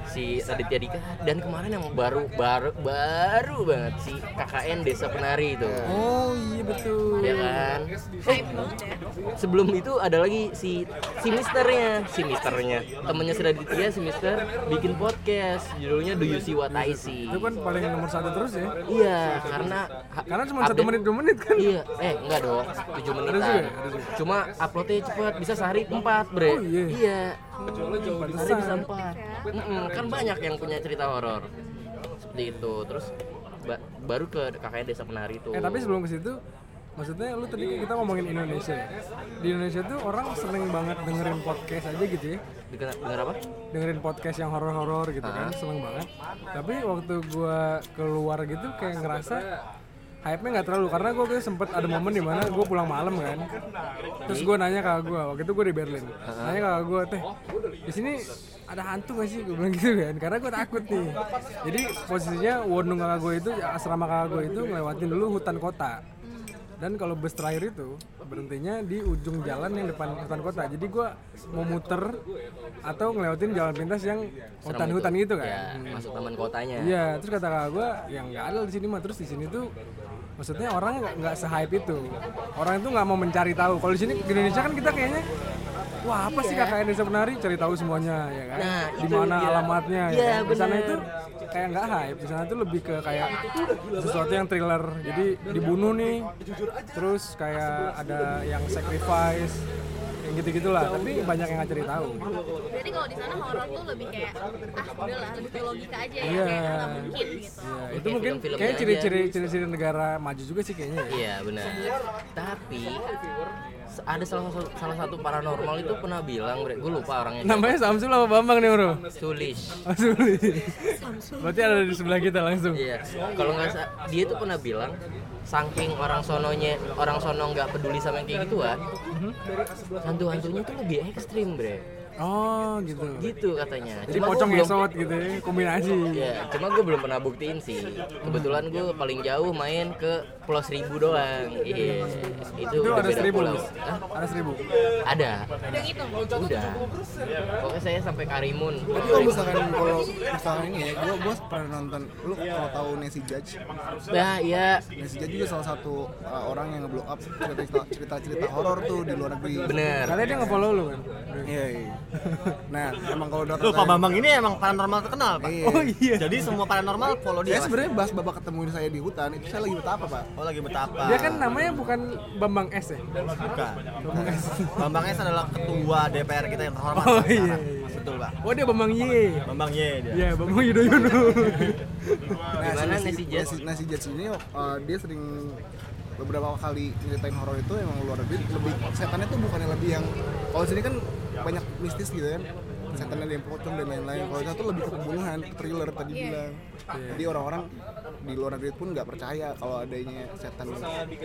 S2: si Raditya Dika dan kemarin yang baru baru baru banget si KKN Desa Penari itu
S1: Oh iya betul.
S2: ya kan
S3: hype banget ya
S2: sebelum itu ada lagi si si misternya si misternya temennya si Raditya si mister bikin podcast judulnya Do You See What I See
S1: Itu kan paling nomor satu terus ya.
S2: iya karena
S1: Karena cuma satu menit dua menit kan.
S2: iya eh enggak dong 7
S1: juga
S2: menitan
S1: ya? Ada juga.
S2: cuma uploadnya cepat bisa sehari 4 bre
S1: Oh, iya.
S2: iya sehari bisa
S1: Pantesan.
S2: 4 kan banyak yang punya cerita horor seperti itu terus ba- baru ke kakaknya desa penari tuh
S1: Eh tapi sebelum ke situ, maksudnya lu tadi kita ngomongin Indonesia. ya. Di Indonesia tuh orang seneng banget dengerin podcast aja gitu ya.
S2: dengar dengar apa
S1: dengerin podcast yang horor-horor gitu kan seneng banget tapi waktu gua keluar gitu kayak ngerasa hype-nya nggak terlalu karena gua kayak sempet ada momen di mana gua pulang malam kan terus gua nanya kakak gua waktu itu gua di Berlin nanya kakak gua teh di sini ada hantu gak sih gua bilang gitu kan karena gua takut nih jadi posisinya warung kakak gua itu asrama kakak gua itu ngelewatin dulu hutan kota dan kalau bus terakhir itu berhentinya di ujung jalan yang depan hutan kota jadi gua mau muter atau ngelewatin jalan pintas yang hutan-hutan gitu kan
S2: ya masuk taman kotanya
S1: iya terus kata kakak gue yang nggak ada di sini mah terus di sini tuh maksudnya orang nggak- nggak se-hype itu orang itu nggak mau mencari tahu kalau di sini di Indonesia kan kita kayaknya wah apa sih kakak Indonesia penari cari tahu semuanya ya kan
S2: Iya. Nah,
S1: di
S2: itu
S1: mana
S2: dia.
S1: alamatnya
S2: Iya,
S1: ya kan? di sana
S2: bener.
S1: itu kayak nggak hype di sana tuh lebih ke kayak sesuatu yang thriller jadi dibunuh nih terus kayak ada yang sacrifice yang gitu-gitulah tapi banyak yang nggak cari tahu
S3: berarti kalau di sana horor tuh lebih kayak ah udahlah lebih ke logika aja ya
S1: Iya.
S3: kayak ah, nggak mungkin gitu
S1: Ya,
S2: Oke,
S1: itu mungkin
S2: film-filmnya
S1: kayak
S2: aja. gitu.
S1: ciri-ciri ciri-ciri negara maju juga sih kayaknya ya.
S2: Iya benar. Tapi se- ada salah satu salah satu paranormal itu pernah bilang, gue lupa orangnya. siapa.
S1: Namanya Samsul apa Bambang nih, Bro?
S2: Sulis.
S1: Samsul. Berarti ada di sebelah kita langsung.
S2: Iya. Kalau nggak sa- dia tuh pernah bilang saking orang sononya orang sono nggak peduli sama yang kayak gituan hantu-hantunya tuh lebih ekstrim bre
S1: Oh, gitu.
S2: gitu katanya
S1: Jadi
S2: gua
S1: pocong
S2: belum
S1: esot gitu ya, kombinasi.
S2: ya cuma gue belum pernah buktiin sih kebetulan gue paling jauh main ke Pulau Seribu doang iya itu,
S1: Itu ada
S2: udah beda
S1: seribu,
S2: pulau
S1: Mas.
S2: Hah?
S1: Ada seribu.
S2: ada
S3: udah gitu
S2: udah
S4: Iya,
S2: pokoknya saya sampai Karimun
S5: Tapi kalau misalkan kalau misalkan ini ya, gua gua pernah nonton lu kalau tahu Nancy Judge.
S2: nah iya
S5: Nancy Judge juga salah satu uh, orang yang nge-blow up cerita-cerita cerita-cerita horor tuh di luar negeri.
S2: bener
S1: Katanya dia nge-follow lu kan.
S5: Iya, iya. Nah, emang kalau udah
S4: Loh, Pak Bambang ini emang paranormal terkenal, Pak.
S5: Iya. Oh,
S1: iya.
S4: Jadi semua paranormal follow dia.
S5: Saya
S4: Mas.
S5: sebenarnya bahas bapak ketemuin saya di hutan, itu saya lagi betapa, Pak.
S4: Oh, lagi betapa.
S1: Dia kan namanya bukan Bambang S ya?
S4: bukan.
S1: Bambang S.
S4: Bambang S adalah ketua DPR kita yang terhormat.
S1: Oh,
S4: Pak, sekarang.
S1: iya, iya.
S4: Betul, Pak.
S1: Oh, dia Bambang Y.
S4: Bambang Y dia.
S1: Iya, Bambang Yudhoyono.
S5: Nah,
S2: Gimana
S5: si
S2: Nancy Judge?
S5: Nancy- Nancy Judge ini uh, dia sering beberapa kali nyeritain horor itu emang luar negeri lebih setannya tuh bukannya lebih yang kalau di sini kan banyak mistis gitu kan setan ada yang pocong dan lain-lain kalau itu lebih ke pembunuhan ke thriller tadi bilang jadi orang-orang di luar negeri pun nggak percaya kalau adanya setan
S1: jadi,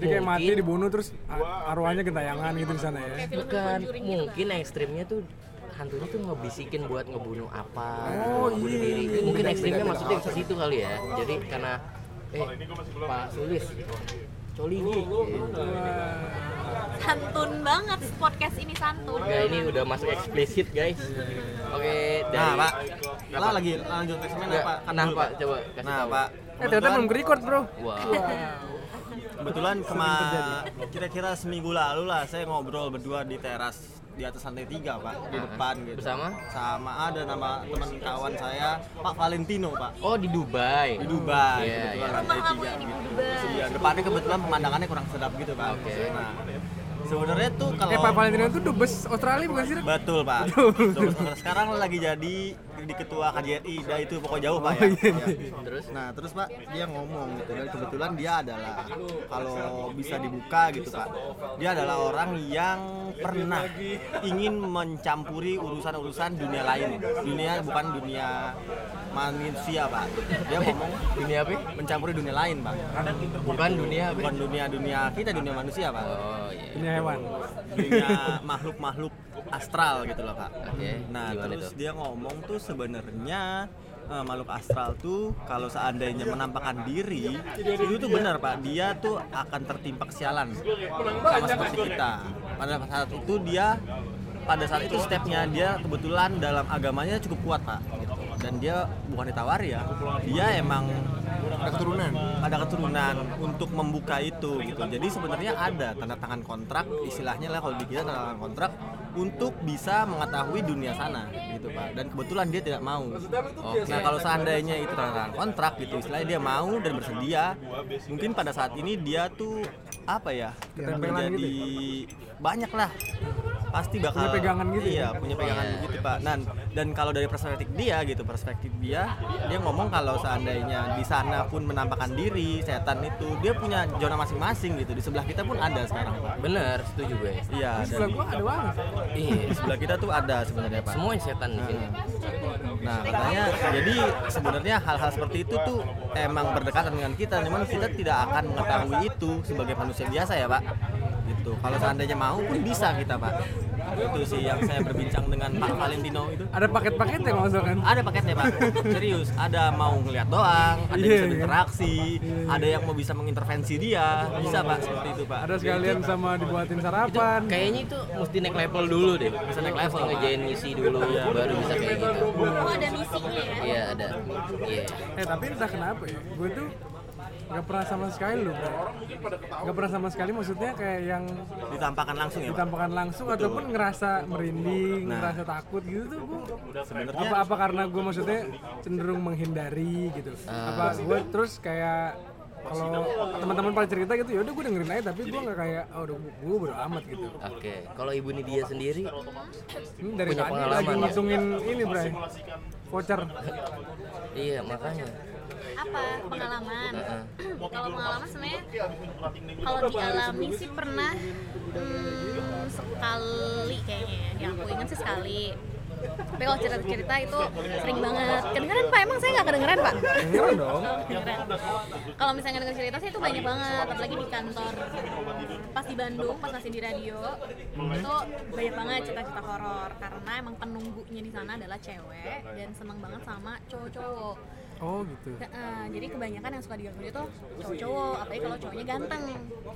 S1: jadi kayak mati dibunuh terus a- arwahnya gentayangan gitu di sana ya.
S2: bukan kan mungkin ekstrimnya tuh hantunya tuh ngebisikin buat ngebunuh apa ngebunuh diri mungkin ekstrimnya maksudnya ke situ kali ya jadi karena
S4: Oh,
S2: eh Pak Sulis Coli Gi.
S1: oh.
S3: santun banget podcast ini santun
S2: Nah, ini udah masuk eksplisit guys oke
S4: Nah,
S2: dari
S4: Pak. Lah lagi lanjut eksamen
S2: Nggak,
S4: apa? Kan
S2: nah
S4: dulu,
S2: Pak coba kasih
S4: Nah,
S2: tahu
S4: Pak.
S1: Eh, ternyata belum record Bro.
S2: Wah,
S4: Kebetulan kema kira-kira seminggu lalu lah saya ngobrol berdua di teras di atas lantai tiga pak di depan gitu
S2: Bersama?
S4: sama ada nama teman kawan saya Pak Valentino pak
S2: oh di Dubai.
S4: di Dubai
S2: Iya,
S4: kebetulan
S2: iya.
S4: lantai
S3: Rumah kamu
S4: tiga
S3: yang di
S4: gitu.
S3: Dubai.
S4: Iya, depannya kebetulan pemandangannya kurang sedap gitu pak
S2: Oke.
S4: nah, sebenarnya tuh kalau
S1: Eh, Pak Valentino itu dubes Australia bukan sih? Ren?
S4: Betul pak.
S1: Betul.
S4: Terus, terus sekarang lagi jadi di ketua KJRI, dah itu pokok jauh pak ya.
S2: Terus
S4: Nah terus pak dia ngomong gitu dan kebetulan dia adalah kalau bisa dibuka gitu pak, dia adalah orang yang pernah ingin mencampuri urusan-urusan dunia lain, dunia bukan dunia manusia pak. Dia ngomong
S2: dunia apa?
S4: mencampuri dunia lain pak,
S2: Bukan dunia apa?
S4: bukan dunia dunia kita dunia manusia pak.
S2: Oh iya.
S1: Ini hewan.
S4: dunia makhluk-makhluk astral gitu loh kak.
S2: Oke,
S4: Nah
S2: gimana
S4: terus
S2: tuh?
S4: dia ngomong tuh sebenarnya eh, makhluk astral tuh kalau seandainya menampakkan diri itu tuh benar pak dia tuh akan tertimpa kesialan sama seperti kita. Pada saat itu dia pada saat itu stepnya dia kebetulan dalam agamanya cukup kuat pak gitu. dan dia bukan ditawar ya dia emang
S5: ada keturunan
S4: ada keturunan untuk membuka itu gitu jadi sebenarnya ada tanda tangan kontrak istilahnya lah kalau di kita tanda tangan kontrak untuk bisa mengetahui dunia sana gitu pak dan kebetulan dia tidak mau nah kalau seandainya itu tanda tangan kontrak gitu istilahnya dia mau dan bersedia mungkin pada saat ini dia tuh apa ya
S1: Ketempelan
S4: menjadi
S1: gitu
S4: banyak lah pasti bakal
S1: Punya pegangan gitu ya?
S4: iya punya pegangan begitu pak dan dan kalau dari perspektif dia gitu perspektif dia dia ngomong kalau seandainya di sana pun menampakkan diri setan itu dia punya zona masing-masing gitu di sebelah kita pun ada sekarang pak
S2: Bener, setuju gue.
S4: iya
S1: Di sebelah
S4: dan-
S1: gua ada banget
S2: Iya,
S4: di sebelah kita tuh ada sebenarnya pak
S2: semuanya setan di sini.
S4: nah makanya jadi sebenarnya hal-hal seperti itu tuh emang berdekatan dengan kita cuman kita tidak akan mengetahui itu sebagai manusia biasa ya pak gitu kalau seandainya mau pun bisa kita pak itu sih yang saya berbincang dengan Pak Valentino itu
S1: ada paket-paket yang masuk kan
S4: ada paketnya pak serius ada mau ngeliat doang ada yang
S1: Iya,
S4: bisa
S1: iya.
S4: berinteraksi ada yang mau bisa mengintervensi dia bisa pak seperti itu pak
S1: ada sekalian sama dibuatin sarapan
S5: Kan.
S2: Kayaknya itu mesti naik level dulu deh. Bisa naik level, ngejain misi dulu, baru bisa kayak gitu.
S3: Oh ada misinya ya?
S2: Iya ada. Iya.
S1: eh tapi entah kenapa ya gue tuh nggak pernah sama sekali loh Bro. nggak pernah sama sekali maksudnya kayak yang
S4: ditampakkan langsung ya pak
S1: ditampakkan langsung ataupun ngerasa merinding
S2: Nah.
S1: ngerasa takut gitu tuh gue
S4: sebenarnya ya,
S1: apa apa karena gue maksudnya cenderung menghindari gitu
S2: Ah.
S1: apa gue terus kayak kalau teman-teman pada cerita gitu ya udah gue dengerin aja tapi gue nggak kayak oh udah gue bodo amat gitu
S2: Oke. Kalau ibu Nidia sendiri,
S1: Ini dari
S2: Punya
S1: tadi
S2: pengalaman
S1: lagi
S2: ya?
S1: ngitungin ini Bray voucher
S2: iya makanya.
S3: apa pengalaman kalau pengalaman sebenarnya kalau dialami sih pernah hmm, sekali kayaknya ya. yang aku ingat sih sekali tapi kalau cerita-cerita itu sering banget kedengeran pak emang saya nggak kedengeran pak
S1: dengeran dong
S3: Kedengeran. kalau misalnya denger cerita sih itu banyak banget apalagi di kantor pas di Bandung pas masih di radio itu banyak banget cerita-cerita horor karena emang penunggunya di sana adalah cewek dan seneng banget sama cowok-cowok
S1: oh gitu
S3: Heeh, jadi kebanyakan yang suka digangguin itu cowok-cowok, apalagi kalau cowoknya ganteng.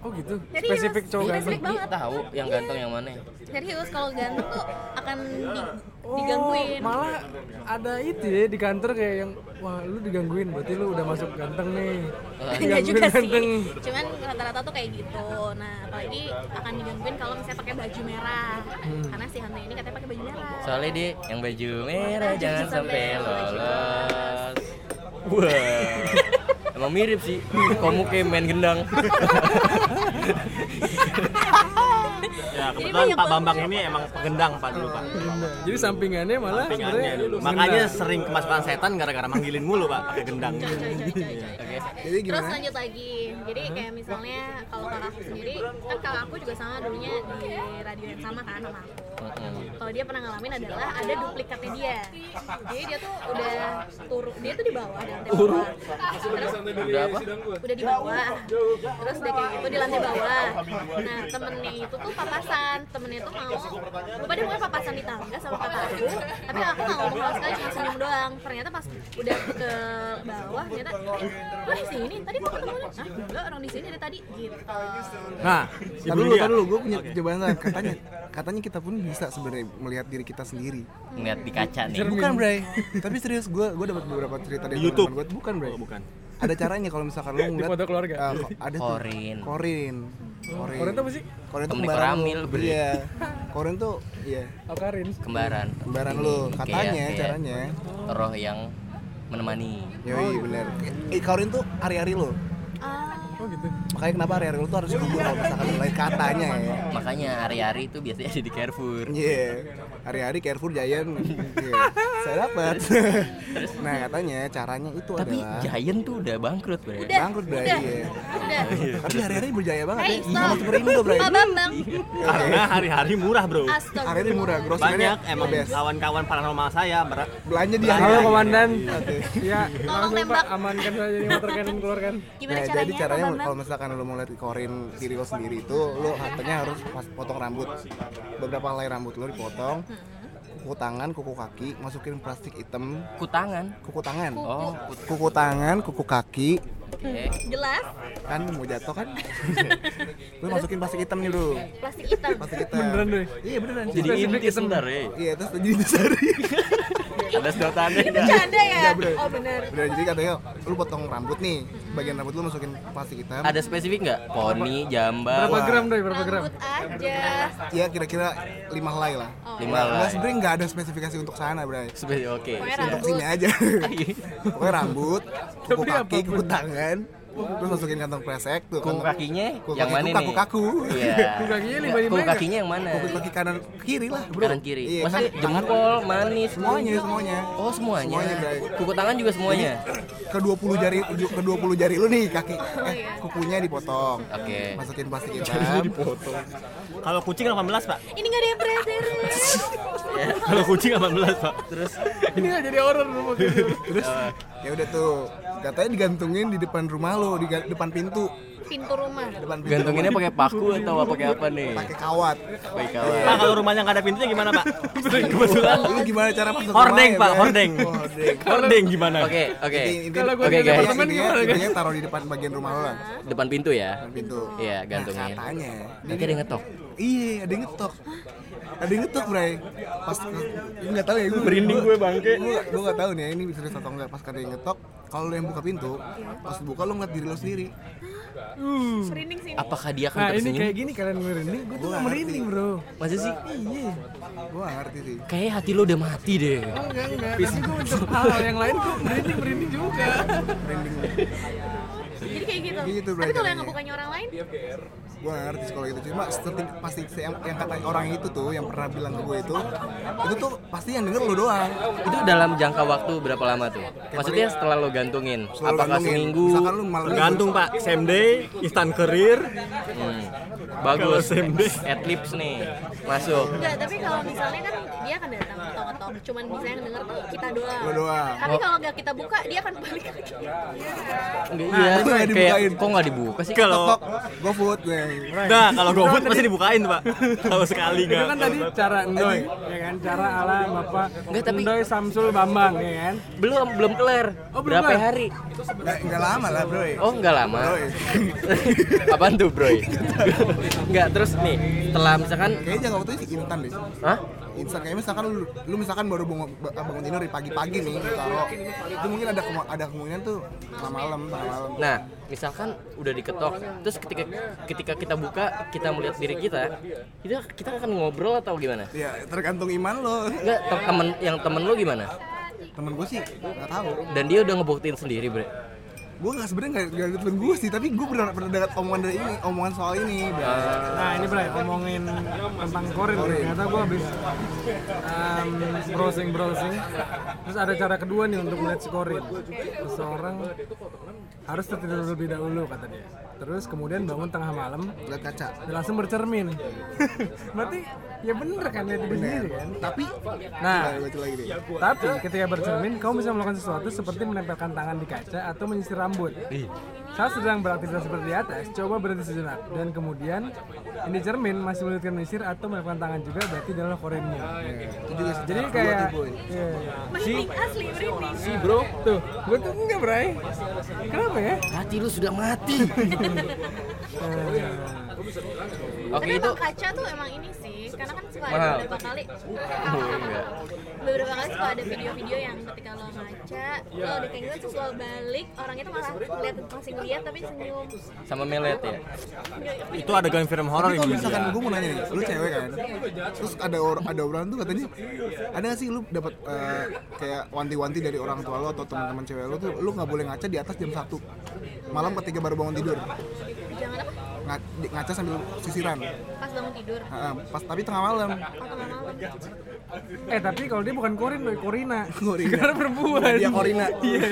S1: oh gitu
S3: Jadi
S1: spesifik
S3: harus-
S1: cowok
S3: iya,
S1: ganteng
S3: spesifik banget.
S2: Tahu yang
S3: Iya.
S2: ganteng yang mana?
S3: Serius kalau ganteng tuh akan di-
S1: Oh,
S3: digangguin.
S1: malah ada itu ya di kantor kayak yang wah lu digangguin berarti lu udah masuk ganteng nih.
S3: Enggak
S1: Digangguin
S3: juga sih. Cuman rata-rata tuh kayak gitu. Nah, apalagi akan digangguin kalau misalnya pakai baju merah. Karena si hantu ini katanya pakai baju merah.
S2: Soalnya dia yang baju merah jangan sampai lolos. Wah. Emang mirip sih. Kamu kayak main gendang.
S4: ya
S3: Jadi
S4: kebetulan
S3: banyak
S4: Pak
S3: banget.
S4: Bambang ini emang pegendang pak dulu
S1: Iya.
S4: pak
S1: Jadi sampingannya malah
S4: Sampingannya
S1: sebenarnya
S4: dulu. makanya sering kemasukan setan gara-gara manggilin mulu pak pakai gendang
S3: Coy, coy, coy, coy, coy.
S5: jadi
S3: Terus
S5: gimana
S3: lanjut lagi. Jadi kayak misalnya kalau kakak aku sendiri, kan kakak aku juga sama dulunya di radio yang sama kan sama aku. kalau dia pernah ngalamin adalah ada duplikatnya dia jadi dia tuh udah turun dia tuh di bawah di lantai bawah terus
S2: Udah apa?
S3: udah di bawah terus udah kayak gitu di lantai bawah nah temennya itu tuh papasan temennya tuh mau lupa dia mau papasan di tangga sama kakak aku tapi aku nggak ngomong sama sekali cuma senyum doang ternyata pas udah ke bawah ternyata eh, lu di sini tadi mau ketemu nih ah gila, orang di sini dari tadi gitu
S4: nah
S5: Tar dulu, tar dulu, gue punya jawaban lain. Katanya, katanya kita pun bisa sebenarnya melihat diri kita sendiri.
S2: Ngeliat di kaca nih.
S5: Bukan, Bray. Tapi serius, gue gue dapat beberapa cerita dari
S4: Di YouTube?
S5: teman-teman gua. Bukan, Bray.
S4: Oh, bukan.
S5: Ada caranya kalau misalkan lu ngeliat
S1: foto keluarga?
S5: eh, ko- ada tuh.
S2: Korin.
S5: Korin. Korin.
S1: Korin tuh apa sih?
S5: Korin tuh
S2: Temen di
S5: kembaran lu.
S2: Koramil, Bray.
S5: Iya. Korin tuh iya,
S1: Oh, Karin.
S2: Kembaran.
S5: kembaran
S2: Ini,
S5: lu.
S2: kayak-
S5: Katanya
S2: kayak
S5: caranya.
S2: Roh yang menemani.
S1: Oh,
S5: Yoi,
S1: iya.
S5: bener. Eh, Korin tuh hari-hari lo.
S3: ah
S1: Oh gitu.
S5: Makanya kenapa hari-hari lo tuh harus kubur kalau misalkan mulai katanya ya.
S2: Makanya hari-hari itu biasanya ada di Carrefour.
S5: Iya, hari-hari Carrefour Giant. Iya. Saya dapat. nah, katanya caranya itu
S2: Tapi ya,
S5: adalah
S2: Giant tuh udah bangkrut, Bray.
S3: Udah,
S5: bangkrut Bray.
S3: udah.
S5: Iya.
S3: udah
S5: Tapi hari-hari berjaya banget
S3: Hei,
S5: ya.
S3: stop.
S5: Sama Superindo Bray.
S3: Pak Bambang.
S4: karena hari-hari murah bro
S3: Astaga.
S5: Hari-hari Iya. murah, grocery-nya
S4: banyak emang
S5: best.
S4: kawan-kawan paranormal saya ber-
S5: Belanja di hari.
S1: Halo komandan.
S5: Oke.
S1: Ya, langsung Pak
S3: tembak.
S1: amankan saja ini motor Karin keluarkan.
S3: Gimana
S5: Nah,
S3: caranya?
S5: jadi caranya
S3: Pak
S5: kalau
S3: Bambang?
S5: misalkan lo mau lihat korin diri lo sendiri itu lo katanya harus pas potong rambut beberapa helai rambut lo dipotong
S3: Mm-hmm.
S5: kuku tangan kuku kaki masukin plastik hitam
S2: Kutangan.
S5: kuku tangan
S2: Oh,
S5: kuku tangan kuku kaki
S2: Oke.
S3: Jelas,
S5: kan mau jatuh kan lu masukin plastik hitam nih bro
S3: plastik hitam.
S5: plastik hitam
S1: Beneran deh.
S5: iya beneran
S2: Jadi
S1: Spesifik
S2: inti
S1: item.
S2: sebenarnya.
S5: iya terus jadi disari
S2: Ada sedotannya.
S3: Ini bercanda ya?
S5: Iya, bener.
S3: Oh bener.
S5: beneran jadi katanya lu potong rambut nih bagian rambut lu masukin plastik hitam
S2: Ada spesifik nggak? Poni,
S1: Berapa
S2: jambal,
S5: Wah.
S1: gram deh, berapa gram?
S3: Rambut aja.
S5: ya kira-kira lima helai lah
S2: lima
S5: Nah,
S2: lah.
S5: sebenernya nggak ada spesifikasi untuk sana, Bray.
S2: Spesifik. Oke.
S3: Pokoknya
S5: Untuk
S3: rambut.
S5: sini aja. Pokoknya rambut, kuku
S1: Tapi
S5: kaki,
S1: apapun.
S5: kuku tangan, terus masukin kantong kresek tuh.
S2: Kuku
S5: kantong-
S2: kakinya
S5: kuku
S2: yang
S5: kaki
S2: mana
S5: tuh
S2: nih?
S5: Kaku-kaku.
S2: Iya.
S1: Kuku kakinya
S2: Nggak,
S1: lima-lima
S2: Kuku
S1: nggak?
S2: kakinya yang mana?
S5: Kuku kaki kanan kiri lah, Bro.
S2: Kanan kiri.
S5: Iya,
S2: Maksudnya
S5: kan
S2: jempol, manis,
S5: semuanya, semuanya.
S2: Oh semuanya.
S5: Semuanya, Bray.
S2: Kuku tangan juga semuanya.
S5: Ke 20 jari ke 20 jari lu nih kaki eh
S3: iya.
S5: kukunya dipotong.
S2: Oke.
S5: Masukin plastik hitam.
S4: Kalau kucing 18, Pak.
S3: Ini nggak ada yang beres-beres. Iya.
S4: Kalau kucing 18, Pak.
S2: Terus
S1: Ini nggak jadi horor rumah gitu.
S5: Terus ya udah tuh, katanya digantungin di depan rumah lo, di ga- depan pintu.
S3: Pintu rumah.
S5: Depan pintu.
S2: gantunginnya pakai paku atau apa pakai apa nih?
S5: pakai kawat.
S2: Pakai kawat.
S4: Pak, kalau rumahnya nggak ada pintunya gimana, Pak? Kebetulan
S5: Lu gimana cara masuk
S4: Hordeng,
S5: rumahnya,
S4: Pak,
S5: Bray?
S4: hordeng.
S5: Hordeng.
S4: hordeng gimana?
S2: Oke, oke.
S5: Jadi intinya-
S1: Kalau gua
S2: Oke,
S1: di
S2: guys.
S5: Iya,
S1: apartemen
S5: intinya,
S1: gimana guys?
S5: intinya taruh di depan bagian rumah lo lah,
S2: Depan pintu ya.
S5: depan pintu.
S2: Iya, gantungin.
S5: Nah, katanya.
S2: Nanti ada yang ngetok.
S5: Iya, ada yang ngetok. Ada yang ngetok, Bray. Pas gue enggak tahu ya, gue merinding gue bangke. Gue enggak tahu nih ya, ini serius atau enggak pas ada yang ngetok. Kalau lo yang buka pintu, pas buka lo ngeliat diri lo sendiri.
S3: Merinding sini.
S2: Apakah dia akan
S1: Nah ini kayak
S2: tersenyum?
S1: gini kalian merinding, gue tuh
S5: Gua
S1: nggak
S5: ngerti.
S1: merinding bro.
S2: Masa sih?
S1: Iya.
S5: Gue ngerti sih.
S2: Kayak hati lo udah mati deh.
S1: Enggak enggak. Tapi gue untuk hal yang lain gue merinding merinding juga.
S3: Jadi kayak gitu.
S5: Gitu, Bray,
S3: Tapi kalau yang
S5: caranya.
S3: ngebukanya orang lain,
S5: Gue ngerti sih kalau gitu. Cuma seperti pasti si- yang, yang kata orang itu tuh yang pernah bilang ke gue itu, itu tuh pasti yang denger lo doang.
S2: Itu dalam jangka waktu berapa lama tuh? Maksudnya setelah lo gantungin,
S5: Selalu
S2: apakah
S5: gantungin.
S2: seminggu?
S5: Misalkan lu malam itu,
S4: Gantung, Pak. Same day, instant career.
S2: Hmm.
S4: Kalau
S2: Bagus.
S4: same day.
S2: At lips nih. Masuk.
S3: Enggak, tapi kalau misalnya kan dia akan datang ngetok-ngetok Cuman bisa yang denger tuh kita doang
S5: Lo doang.
S3: Tapi kalau nggak kita buka, dia akan balik lagi
S1: Nah,
S2: Enggak,
S5: itu
S2: Iya,
S5: nggak
S2: kayak
S5: dibukain.
S2: kok nggak dibuka sih?
S4: Kalau
S5: Tok, gue food, Bray.
S4: Nah, kalau GoFood pasti dibukain, Pak. Kalau sekali
S1: Itu
S4: nggak.
S1: kan tadi cara Endoy, ya kan? Cara ala Bapak
S2: Enggak, tapi-
S1: Endoy Samsul Bambang, ya kan?
S2: Belum, belum kelar.
S1: Oh, belum
S2: Berapa
S1: kelar.
S2: hari?
S5: Nggak, nggak lama lah bro ya.
S2: Oh, enggak lama.
S5: Bro, ya.
S2: Apaan tuh, Bro? Enggak, terus nih, setelah misalkan
S5: Kayaknya jangka waktunya sih instan deh
S2: Hah?
S5: Instan kayak misalkan lu, lu misalkan baru bangun, ba- bangun tidur di pagi-pagi nih gitu. Kalau itu mungkin ada kemu- ada kemungkinan tuh tengah malam, tengah malam
S2: Nah, misalkan udah diketok, terus ketika ketika kita buka, kita melihat diri kita, kita kita akan ngobrol atau gimana?
S5: Ya tergantung iman lo
S2: Enggak, te- temen yang temen lo gimana?
S5: Temen gue sih nggak tahu.
S2: Dan dia udah ngebuktiin sendiri, Bre.
S5: Gue nggak sebenernya nggak nggak ada temen gue sih Tapi gue pernah pernah dengar omongan dari ini, omongan soal ini bro.
S1: Nah ini Bray, ngomongin tentang Korin Ternyata gue habis um, browsing-browsing Terus ada cara kedua nih untuk melihat si Korin Seseorang harus tertidur lebih dahulu kata dia Terus kemudian bangun tengah malam
S2: Ah.
S5: Lihat kaca
S1: dan langsung bercermin Berarti ya bener kan lihat diri sendiri kan
S5: Tapi
S1: Nah
S5: Nah, lucu lagi deh
S1: tapi ketika bercermin, kamu bisa melakukan sesuatu seperti menempelkan tangan di kaca atau menyisir rambut.
S2: Iya.
S1: Saat sedang beraktivitas seperti di atas, coba berhenti sejenak dan kemudian ini cermin masih melanjutkan menyisir atau menempelkan tangan juga berarti adalah korenmu.
S5: Itu juga sih
S1: Nah, Jadi
S5: Dua
S1: kayak
S5: tuh, Boy.
S1: Iya, iya.
S3: Merinding, asli merinding
S1: si bro tuh, gue tuh enggak bray. Kenapa ya?
S2: Hati lu sudah mati.
S3: Tapi
S2: Oke, itu
S3: emang kaca tuh emang ini sih Karena kan suka ada
S2: Mahal.
S3: beberapa kali
S2: enggak.
S3: Beberapa kali suka ada video-video yang ketika lo ngaca Lo udah kayak gitu, terus lo balik Orang itu malah lihat masih ngeliat tapi senyum
S2: sama melet ya.
S4: Itu adegan film horor
S5: Tapi
S4: yang
S5: kalau
S4: gitu.
S5: misalkan gue mau nanya nih, lu cewek kan? Terus ada orang ada orang tuh katanya ada gak sih lu dapat eh, kayak wanti-wanti dari orang tua lu atau teman-teman cewek lu tuh lu nggak boleh ngaca di atas jam 1 malam ketika baru bangun tidur
S3: Jangan apa,
S5: Nga- di- ngaca sambil sisiran
S3: pas bangun tidur
S5: Ha, pas tapi tengah malam
S3: Atau tengah malam
S1: Eh tapi kalau dia bukan korin, Boy, korina.
S5: Korina.
S1: Karena perempuan.
S5: Dia Korina.
S1: Iya.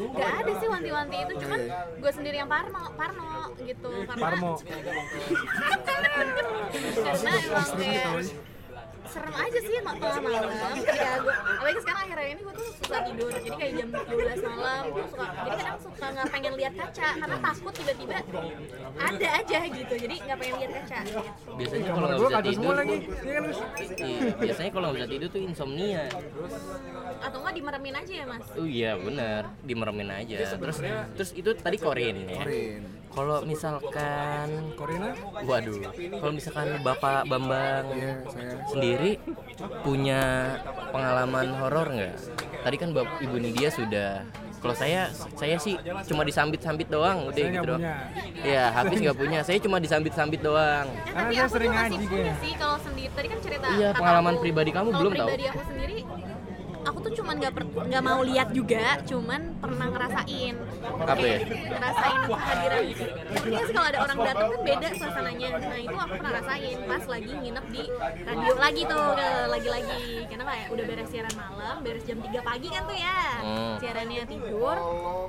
S3: Gak ada sih wanti-wanti itu, cuman gue sendiri yang parno, parno gitu karena
S1: Parmo.
S3: karena emang kayak serem aja sih ma- malam malam ketika gue apalagi sekarang akhir akhir ini gue tuh susah tidur jadi kayak jam 12 malam gue suka jadi kadang suka nggak pengen lihat kaca karena takut tiba-tiba ada aja gitu jadi nggak pengen lihat kaca
S2: biasanya kalau
S1: Kamar
S2: nggak
S1: gua
S2: bisa
S1: kacau
S2: tidur
S1: semua lagi. Iya kan? Gus?
S2: iya, biasanya kalau nggak bisa tidur tuh insomnia
S3: atau nggak dimeremin aja ya mas
S2: oh iya benar dimeremin aja terus terus itu tadi korin ya kalau misalkan
S1: Korina?
S2: Waduh, kalau misalkan Bapak Bambang
S1: Iya,
S2: sendiri punya pengalaman horor nggak? Tadi kan Bapak Ibu Nidia sudah. Kalau saya, saya sih cuma disambit-sambit doang, udah
S1: Saya nggak
S2: gitu doang.
S1: punya.
S2: Ya, habis nggak punya. Saya cuma disambit-sambit doang.
S3: Eh,
S1: Karena
S3: tapi
S1: saya
S3: aku
S1: sering
S3: tuh masih
S1: ngaji
S3: punya
S1: kayaknya.
S3: sih kalau sendiri tadi kan cerita
S2: Iya,
S3: kakak
S2: pengalaman
S3: aku.
S2: pribadi kamu
S3: Kalau
S2: belum tahu?
S3: pribadi aku sendiri aku tuh cuman nggak per- nggak mau lihat juga cuman pernah ngerasain
S2: Apa ya?
S3: ngerasain kehadiran Iya sih kalau ada orang datang kan beda suasananya nah itu aku pernah rasain pas lagi nginep di radio lagi tuh ke- lagi-lagi karena kayak udah beres siaran malam beres jam 3 pagi kan tuh ya
S2: Hmm.
S3: siarannya tidur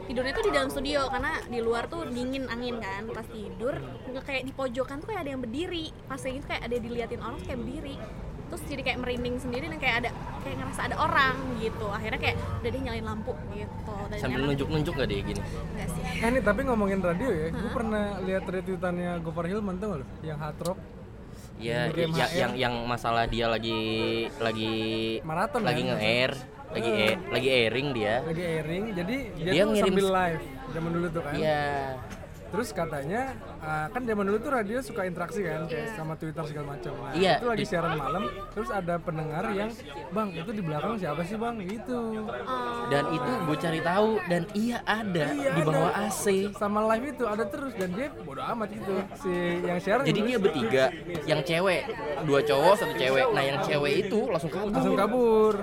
S3: tidurnya tuh di dalam studio karena di luar tuh dingin angin kan pas tidur nggak kayak di pojokan tuh kayak ada yang berdiri pas kayak gitu kayak ada yang diliatin orang tuh kayak berdiri terus jadi kayak merinding sendiri dan kayak ada kayak ngerasa ada orang gitu akhirnya kayak udah deh nyalain lampu gitu dan
S2: Sambil
S3: emang-
S2: nunjuk-nunjuk nggak deh gini?
S3: enggak sih
S1: Eh nih tapi ngomongin radio ya, gue pernah lihat retweetannya Gopar Hilman tau gak lu? Yang hard rock
S2: Ya, ya-
S1: Kirim
S2: ya-
S1: HM.
S2: yang yang masalah dia lagi lagi
S1: Maraton,
S2: lagi
S1: kan?
S2: nge-air, lagi air, lagi airing dia.
S1: lagi airing, jadi dia,
S2: Dia
S1: tuh
S2: ngirim-
S1: sambil live zaman dulu tuh kan.
S2: Iya.
S1: Terus katanya ah, kan zaman dulu tuh radio suka interaksi kan, kayak sama Twitter segala macam. Nah,
S2: Iya,
S1: Itu lagi
S2: di-
S1: siaran malam, terus ada pendengar yang, bang itu di belakang siapa sih bang? Gitu.
S3: Eh,
S2: Dan itu gue cari tahu dan iya ada di bawah AC.
S1: Sama live itu ada terus dan dia bodo amat gitu si yang siaran.
S2: Jadi dia bertiga, yang cewek, dua cowok satu cewek. Nah yang cewek itu langsung kabur.
S1: langsung kabur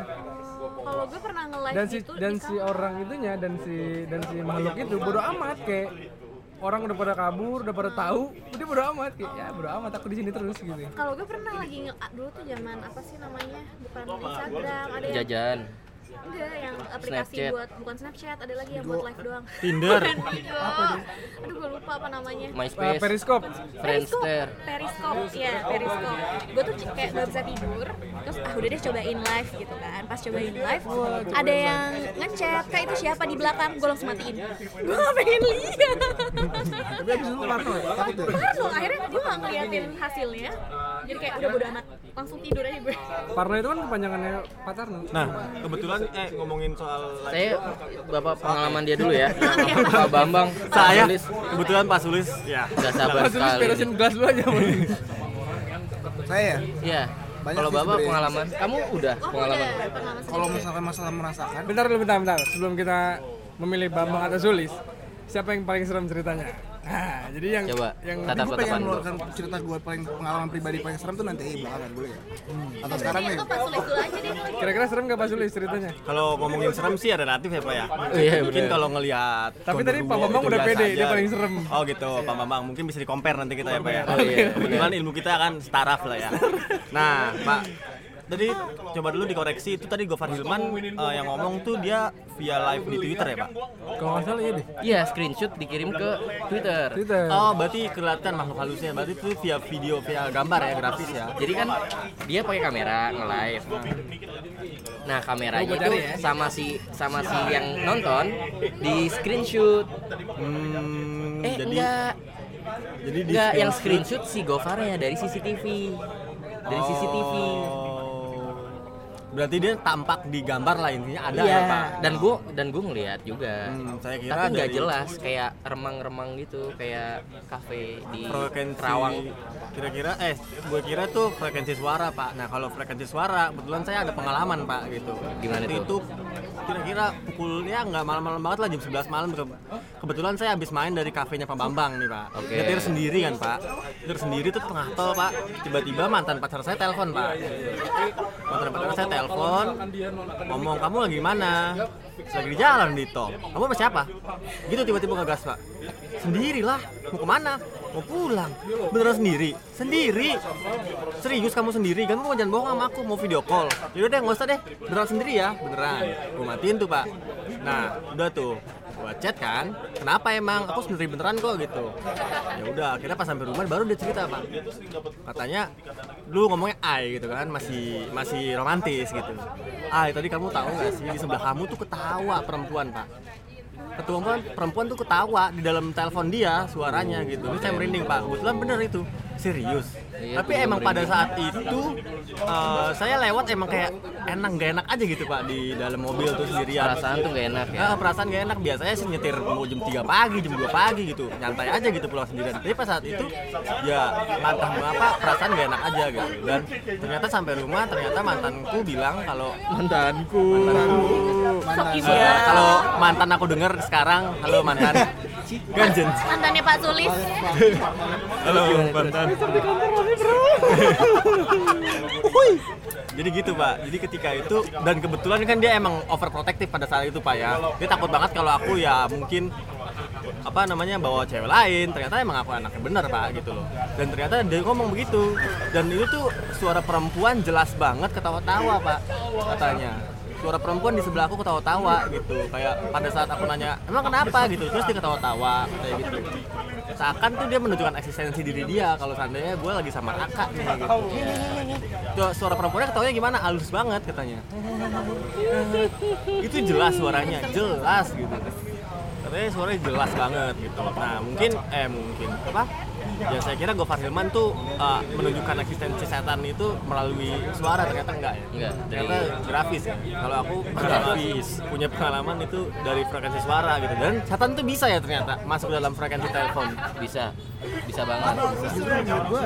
S3: kalau gue pernah nge-live
S1: dan si
S3: gitu
S1: dan
S3: di
S1: si orang itunya dan si dan si makhluk itu bodo amat kayak orang udah pada kabur udah pada tahu dia bodo amat kayak ya bodo amat aku di sini terus gitu
S3: kalau gue pernah lagi nge- ah, dulu tuh zaman apa sih namanya bukan Instagram ada yang
S2: Jajan.
S3: enggak yang aplikasi
S2: Snapchat.
S3: buat bukan Snapchat ada lagi yang buat live doang
S4: Tinder.
S3: Bukan Bigo. aduh gue lupa apa namanya
S1: Eh,
S2: MySpace.
S1: periskop
S2: Friendster.
S3: Periskop, ya Periskop. Gue tuh c- kayak gak bisa tidur, terus ah udah deh cobain live gitu kan. Pas cobain live, ada yang ngechat, kayak itu siapa di belakang, gue langsung matiin. Gue gak pengen lihat.
S5: tapi abis itu parno ya takut ya
S3: Parno, akhirnya gue gak ngeliatin hasilnya. Jadi kayak udah bodo amat, langsung tidur aja gue.
S1: Parno itu kan kepanjangannya Patarno
S4: Nah, kebetulan eh ngomongin soal
S2: Saya bapak pengalaman dia dulu ya. Bapak Bambang.
S4: saya
S2: Tulis.
S4: kebetulan pas tulis ya.
S2: Gak sabar
S1: Mas tulis
S2: sekali.
S1: beresin gelas dulu aja Bang.
S5: saya ya
S2: Iya.
S5: Banyak
S2: Kalau
S5: sih
S2: bapak
S5: sebenarnya.
S2: pengalaman, kamu udah
S3: Oh
S2: pengalaman.
S3: udah, pengalaman
S5: kalau
S3: sedikit.
S5: misalkan masalah merasakan
S1: bentar dulu bentar bentar sebelum kita memilih Bambang atau Sulis siapa yang paling serem ceritanya nah jadi yang
S2: Coba
S1: yang
S5: tapi
S2: tatap
S5: gue pengen
S2: tatapan dulu.
S5: mengeluarkan cerita gue paling pengalaman pribadi paling serem tuh nanti belakangan boleh ya atau sekarang
S3: Ini
S5: nih
S3: atau Iya, pas tulis dulu aja deh.
S1: kira-kira serem gak Pak Sulis ceritanya
S4: Kalau ngomongin serem sih ya relatif ya Pak ya.
S2: Iya,
S4: mungkin
S2: bener.
S4: kalau ngelihat
S1: Tapi tadi
S4: gondoruo
S1: Pak Bambang
S4: itu
S1: udah
S4: biasa
S1: pede, dia
S4: aja.
S1: paling serem.
S4: Oh gitu, Pak Bambang mungkin bisa di compare nanti kita ya Pak ya.
S2: Oh, iya,
S4: Kebetulan ilmu kita kan setaraf lah ya. Nah, Pak Tadi coba dulu dikoreksi itu tadi Gofar Hilman eh, yang ngomong tuh dia via live di Twitter ya Pak.
S1: kalau nggak salah iya deh
S2: Iya, screenshot dikirim ke Twitter.
S1: Twitter
S4: Oh berarti kelihatan makhluk halusnya berarti itu via video via gambar ya grafis ya.
S2: Jadi kan dia pakai kamera nge-live. Nah, kameranya itu sama si sama si yang nonton di screenshot.
S4: Hmm,
S2: Eh,
S4: jadi
S2: enggak.
S4: jadi di
S2: Enggak, yang
S4: screenshot-
S2: screenshot si Gofarnya dari CCTV. Dari CCTV.
S4: Oh. Berarti dia tampak di gambar lah intinya ada
S2: iya.
S4: ya Pak.
S2: Dan gua dan gua ngelihat juga.
S4: Hmm, saya kira
S2: Tapi nggak
S4: dari-
S2: jelas kayak remang-remang gitu, kayak kafe di
S4: frekuensi
S2: Rawang.
S4: kira-kira eh gue kira tuh frekuensi suara Pak. Nah, kalau frekuensi suara kebetulan saya ada pengalaman Pak gitu.
S2: Gimana
S4: Waktu
S2: tuh?
S4: itu kira-kira pukulnya nggak malam-malam banget lah jam 11 malam gitu. Kebetulan saya habis main dari kafenya Pak Bambang nih Pak.
S2: Oke.
S4: Nyetir sendiri kan Pak. Nyetir sendiri tuh tengah tol Pak. Tiba-tiba mantan pacar saya telepon Pak. Mantan pacar saya telepon ngomong kamu lagi di mana? Lagi di jalan di tol. Kamu sama siapa? Gitu tiba-tiba ngegas Pak. Sendirilah. Mau kemana? Mau pulang. Beneran sendiri? Sendiri. Serius kamu sendiri? Kan kamu jangan bohong sama aku. Mau video call. ya? Yaudah deh nggak usah deh. Beneran sendiri ya. Beneran. Gue matiin tuh Pak. Nah udah tuh gua chat kan kenapa emang aku sebenarnya beneran kok gitu ya udah akhirnya pas sampai rumah baru dia cerita pak katanya dulu ngomongnya ai gitu kan masih masih romantis gitu ai tadi kamu tahu nggak sih di sebelah kamu tuh ketawa perempuan pak ketua perempuan, perempuan tuh ketawa di dalam telepon dia suaranya gitu terus saya merinding pak kebetulan bener itu serius
S2: Iya,
S4: tapi
S2: gua
S4: emang pada
S2: merinding.
S4: saat itu eh, saya lewat emang kayak enak gak enak aja gitu pak di dalam mobil tuh sendirian
S2: perasaan tuh gak enak ya
S4: Ah, perasaan gak enak biasanya sih nyetir mau jam 3 pagi jam 2 pagi gitu nyantai aja gitu pulang sendirian tapi pas saat itu ya mantap apa perasaan gak enak aja gitu dan ternyata sampai rumah ternyata mantanku bilang kalau
S2: mantanku
S3: Iya.
S4: eh,
S3: gitu.
S4: kalau mantan aku denger sekarang halo mantan ganjen
S3: mantannya Pak Sulis
S4: Iya. halo mantan jadi gitu pak jadi ketika itu dan kebetulan kan dia emang overprotective pada saat itu pak ya dia takut banget kalau aku ya mungkin apa namanya bawa cewek lain ternyata emang aku anaknya bener pak gitu loh dan ternyata dia ngomong begitu dan itu tuh suara perempuan jelas banget ketawa-tawa pak katanya suara perempuan di sebelah aku ketawa-tawa gitu kayak pada saat aku nanya emang kenapa gitu terus dia ketawa-tawa kayak gitu seakan tuh dia menunjukkan eksistensi diri dia kalau seandainya gue lagi sama kakak nih gitu Tuh, suara perempuannya ketawanya gimana halus banget katanya itu jelas suaranya jelas gitu katanya suaranya jelas banget gitu nah mungkin eh mungkin apa ya saya kira Gofar Hilman tuh uh, menunjukkan eksistensi setan itu melalui suara ternyata enggak ya
S2: Enggak, dari-
S4: ternyata grafis ya. kalau aku grafis punya pengalaman itu dari frekuensi suara gitu dan setan tuh bisa ya ternyata masuk dalam frekuensi telepon
S2: bisa bisa banget
S5: justru menurut gua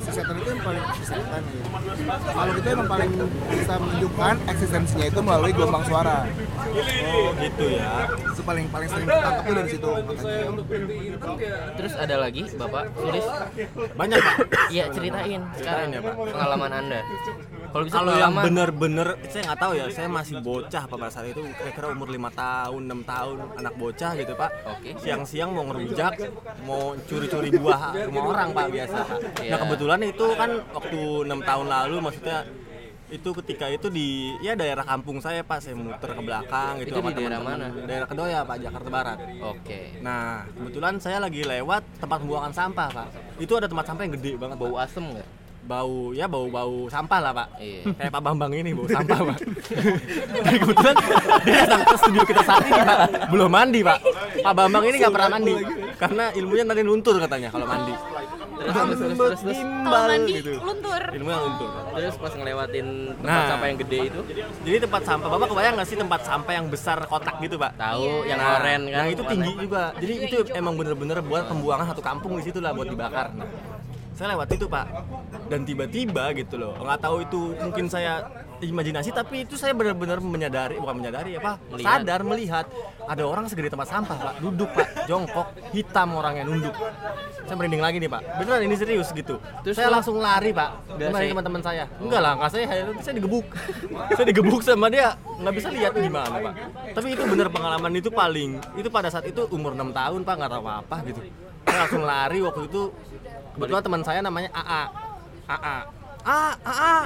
S5: si setan itu yang paling si setan gitu. Kalau kita emang paling bisa menunjukkan eksistensinya itu melalui gelombang suara.
S4: oh gitu ya
S5: Itu paling paling sering ketangkep tuh dari situ makanya.
S2: terus ada lagi bapak tulis
S4: banyak Pak.
S2: iya ceritain sekarang
S4: Ceritain ya, Pak.
S2: pengalaman anda kalau bisa
S4: Kalau yang
S2: pengalaman
S4: bener-bener saya nggak tahu ya, saya masih bocah pak pada saat itu kira-kira umur 5 tahun, 6 tahun, anak bocah gitu pak.
S2: Oke.
S4: Siang-siang mau ngerujak, mau curi-curi buah rumah orang pak biasa. Pak.
S2: Iya.
S4: Nah kebetulan itu kan waktu 6 tahun lalu maksudnya itu ketika itu di ya daerah kampung saya pak saya muter ke belakang gitu
S2: Itu
S4: sama
S2: di daerah
S4: teman-teman.
S2: mana?
S4: daerah Kedoya pak Jakarta Barat
S2: oke
S4: nah kebetulan saya lagi lewat tempat pembuangan sampah pak itu ada tempat sampah yang gede banget Pak
S2: bau asem nggak
S4: bau ya bau bau sampah lah pak
S2: Iya.
S4: kayak pak bambang ini bau sampah pak dan kebetulan dia datang ke studio kita saat ini pak belum mandi pak pak bambang ini nggak pernah mandi karena ilmunya nanti luntur katanya kalau mandi
S2: terus terus terus terus, terus.
S3: kalau
S4: Timbal
S3: mandi
S4: gitu
S3: luntur
S4: ilmunya luntur
S2: Terus pas ngelewatin tempat
S4: Nah.
S2: sampah yang gede itu
S4: jadi tempat sampah bapak kebayang nggak sih tempat sampah yang besar kotak gitu pak
S2: tahu yang
S4: Nah,
S2: oren kan
S4: nah, itu tinggi juga jadi itu emang bener-bener buat pembuangan satu kampung di situ lah buat dibakar Nah, saya lewat itu pak dan tiba-tiba gitu loh nggak tahu itu mungkin saya imajinasi tapi itu saya benar-benar menyadari bukan menyadari apa
S2: Melihat.
S4: sadar melihat ada orang segede tempat sampah pak duduk pak jongkok hitam orangnya nunduk saya merinding lagi nih pak beneran ini serius gitu
S2: Terus
S4: saya
S2: lo-
S4: langsung lari pak
S2: Udah
S4: kemarin
S2: saya-
S4: teman-teman saya enggak lah nggak saya nanti saya digebuk saya digebuk sama dia nggak bisa lihat gimana pak tapi itu bener pengalaman itu paling itu pada saat itu umur 6 tahun pak nggak tahu apa apa gitu saya langsung lari waktu itu kebetulan teman saya namanya AA AA AA AA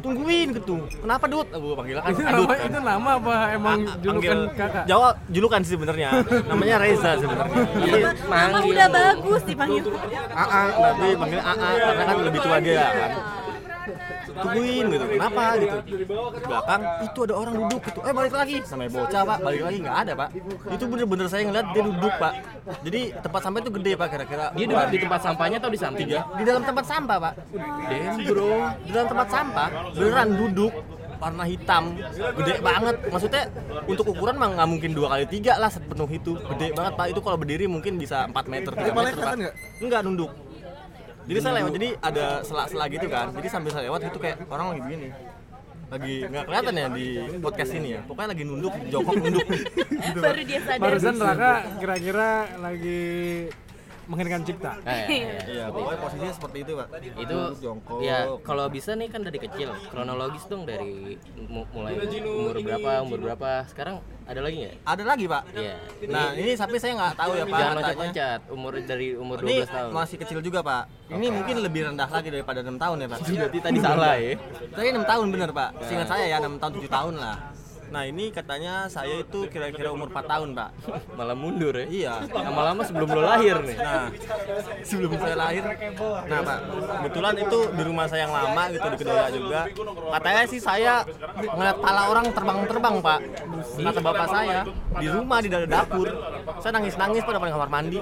S4: tungguin gitu kenapa dut aku panggil kan
S1: itu
S4: "Ah, Dut,"
S1: nama
S4: kan.
S1: itu nama apa emang
S4: Ah,
S1: julukan
S4: panggil-
S1: kakak
S4: Jawa julukan sih sebenarnya namanya Reza sebenarnya Tapi
S3: Nama
S2: Iya, manggil
S3: udah bagus dipanggil
S4: AA tapi panggil AA karena kan lebih tua dia kan tungguin gitu kenapa gitu Di belakang itu ada orang duduk gitu eh balik lagi sampai bocah pak balik lagi nggak ada pak itu bener-bener saya ngeliat dia duduk pak jadi tempat sampah itu gede pak kira-kira
S2: Dia duduk di tempat sampahnya atau di samping?
S4: tiga di dalam tempat sampah pak damn Ya. bro di dalam tempat sampah beneran duduk warna hitam gede banget maksudnya untuk ukuran mah nggak mungkin dua kali tiga lah sepenuh itu gede banget pak itu kalau berdiri mungkin bisa 4 meter 3 meter
S5: Kepalanya
S4: pak
S5: kelihatan nggak?
S4: enggak nunduk jadi saya lewat jadi ada sela-sela gitu kan jadi sambil saya lewat itu kayak orang lagi begini lagi nggak kelihatan ya di podcast ini ya pokoknya lagi nunduk jongkok nunduk Iya.
S3: baru dia sadar
S1: barusan Raka kira-kira lagi mengheningkan cipta
S2: Nah, ya, ya.
S4: iya pokoknya posisinya seperti itu pak
S2: itu ya kalau bisa nih kan dari kecil kronologis dong dari mu- mulai umur berapa umur berapa sekarang ada lagi nggak?
S4: ada lagi pak
S2: Iya.
S4: nah ini tapi saya nggak tahu ya pak
S2: Jangan
S4: katanya.
S2: loncat-loncat umur dari umur
S4: Ini
S2: 12 tahun.
S4: masih kecil juga pak. Ini mungkin lebih rendah lagi daripada enam tahun ya pak.
S2: Berarti Iya, tadi salah ya.
S4: Tapi enam tahun bener pak. Seingat saya ya enam tahun tujuh tahun lah. Nah ini katanya saya itu kira-kira umur 4 tahun pak
S2: Malah mundur ya?
S4: Iya
S2: Lama-lama sebelum lo lahir nih.
S4: Nah sebelum saya lahir Nah pak kebetulan itu di rumah saya yang lama gitu di Kedoya juga Katanya sih saya ngeliat pala orang terbang-terbang pak Kata bapak saya di rumah di dalam dapur Saya nangis-nangis pada depan kamar mandi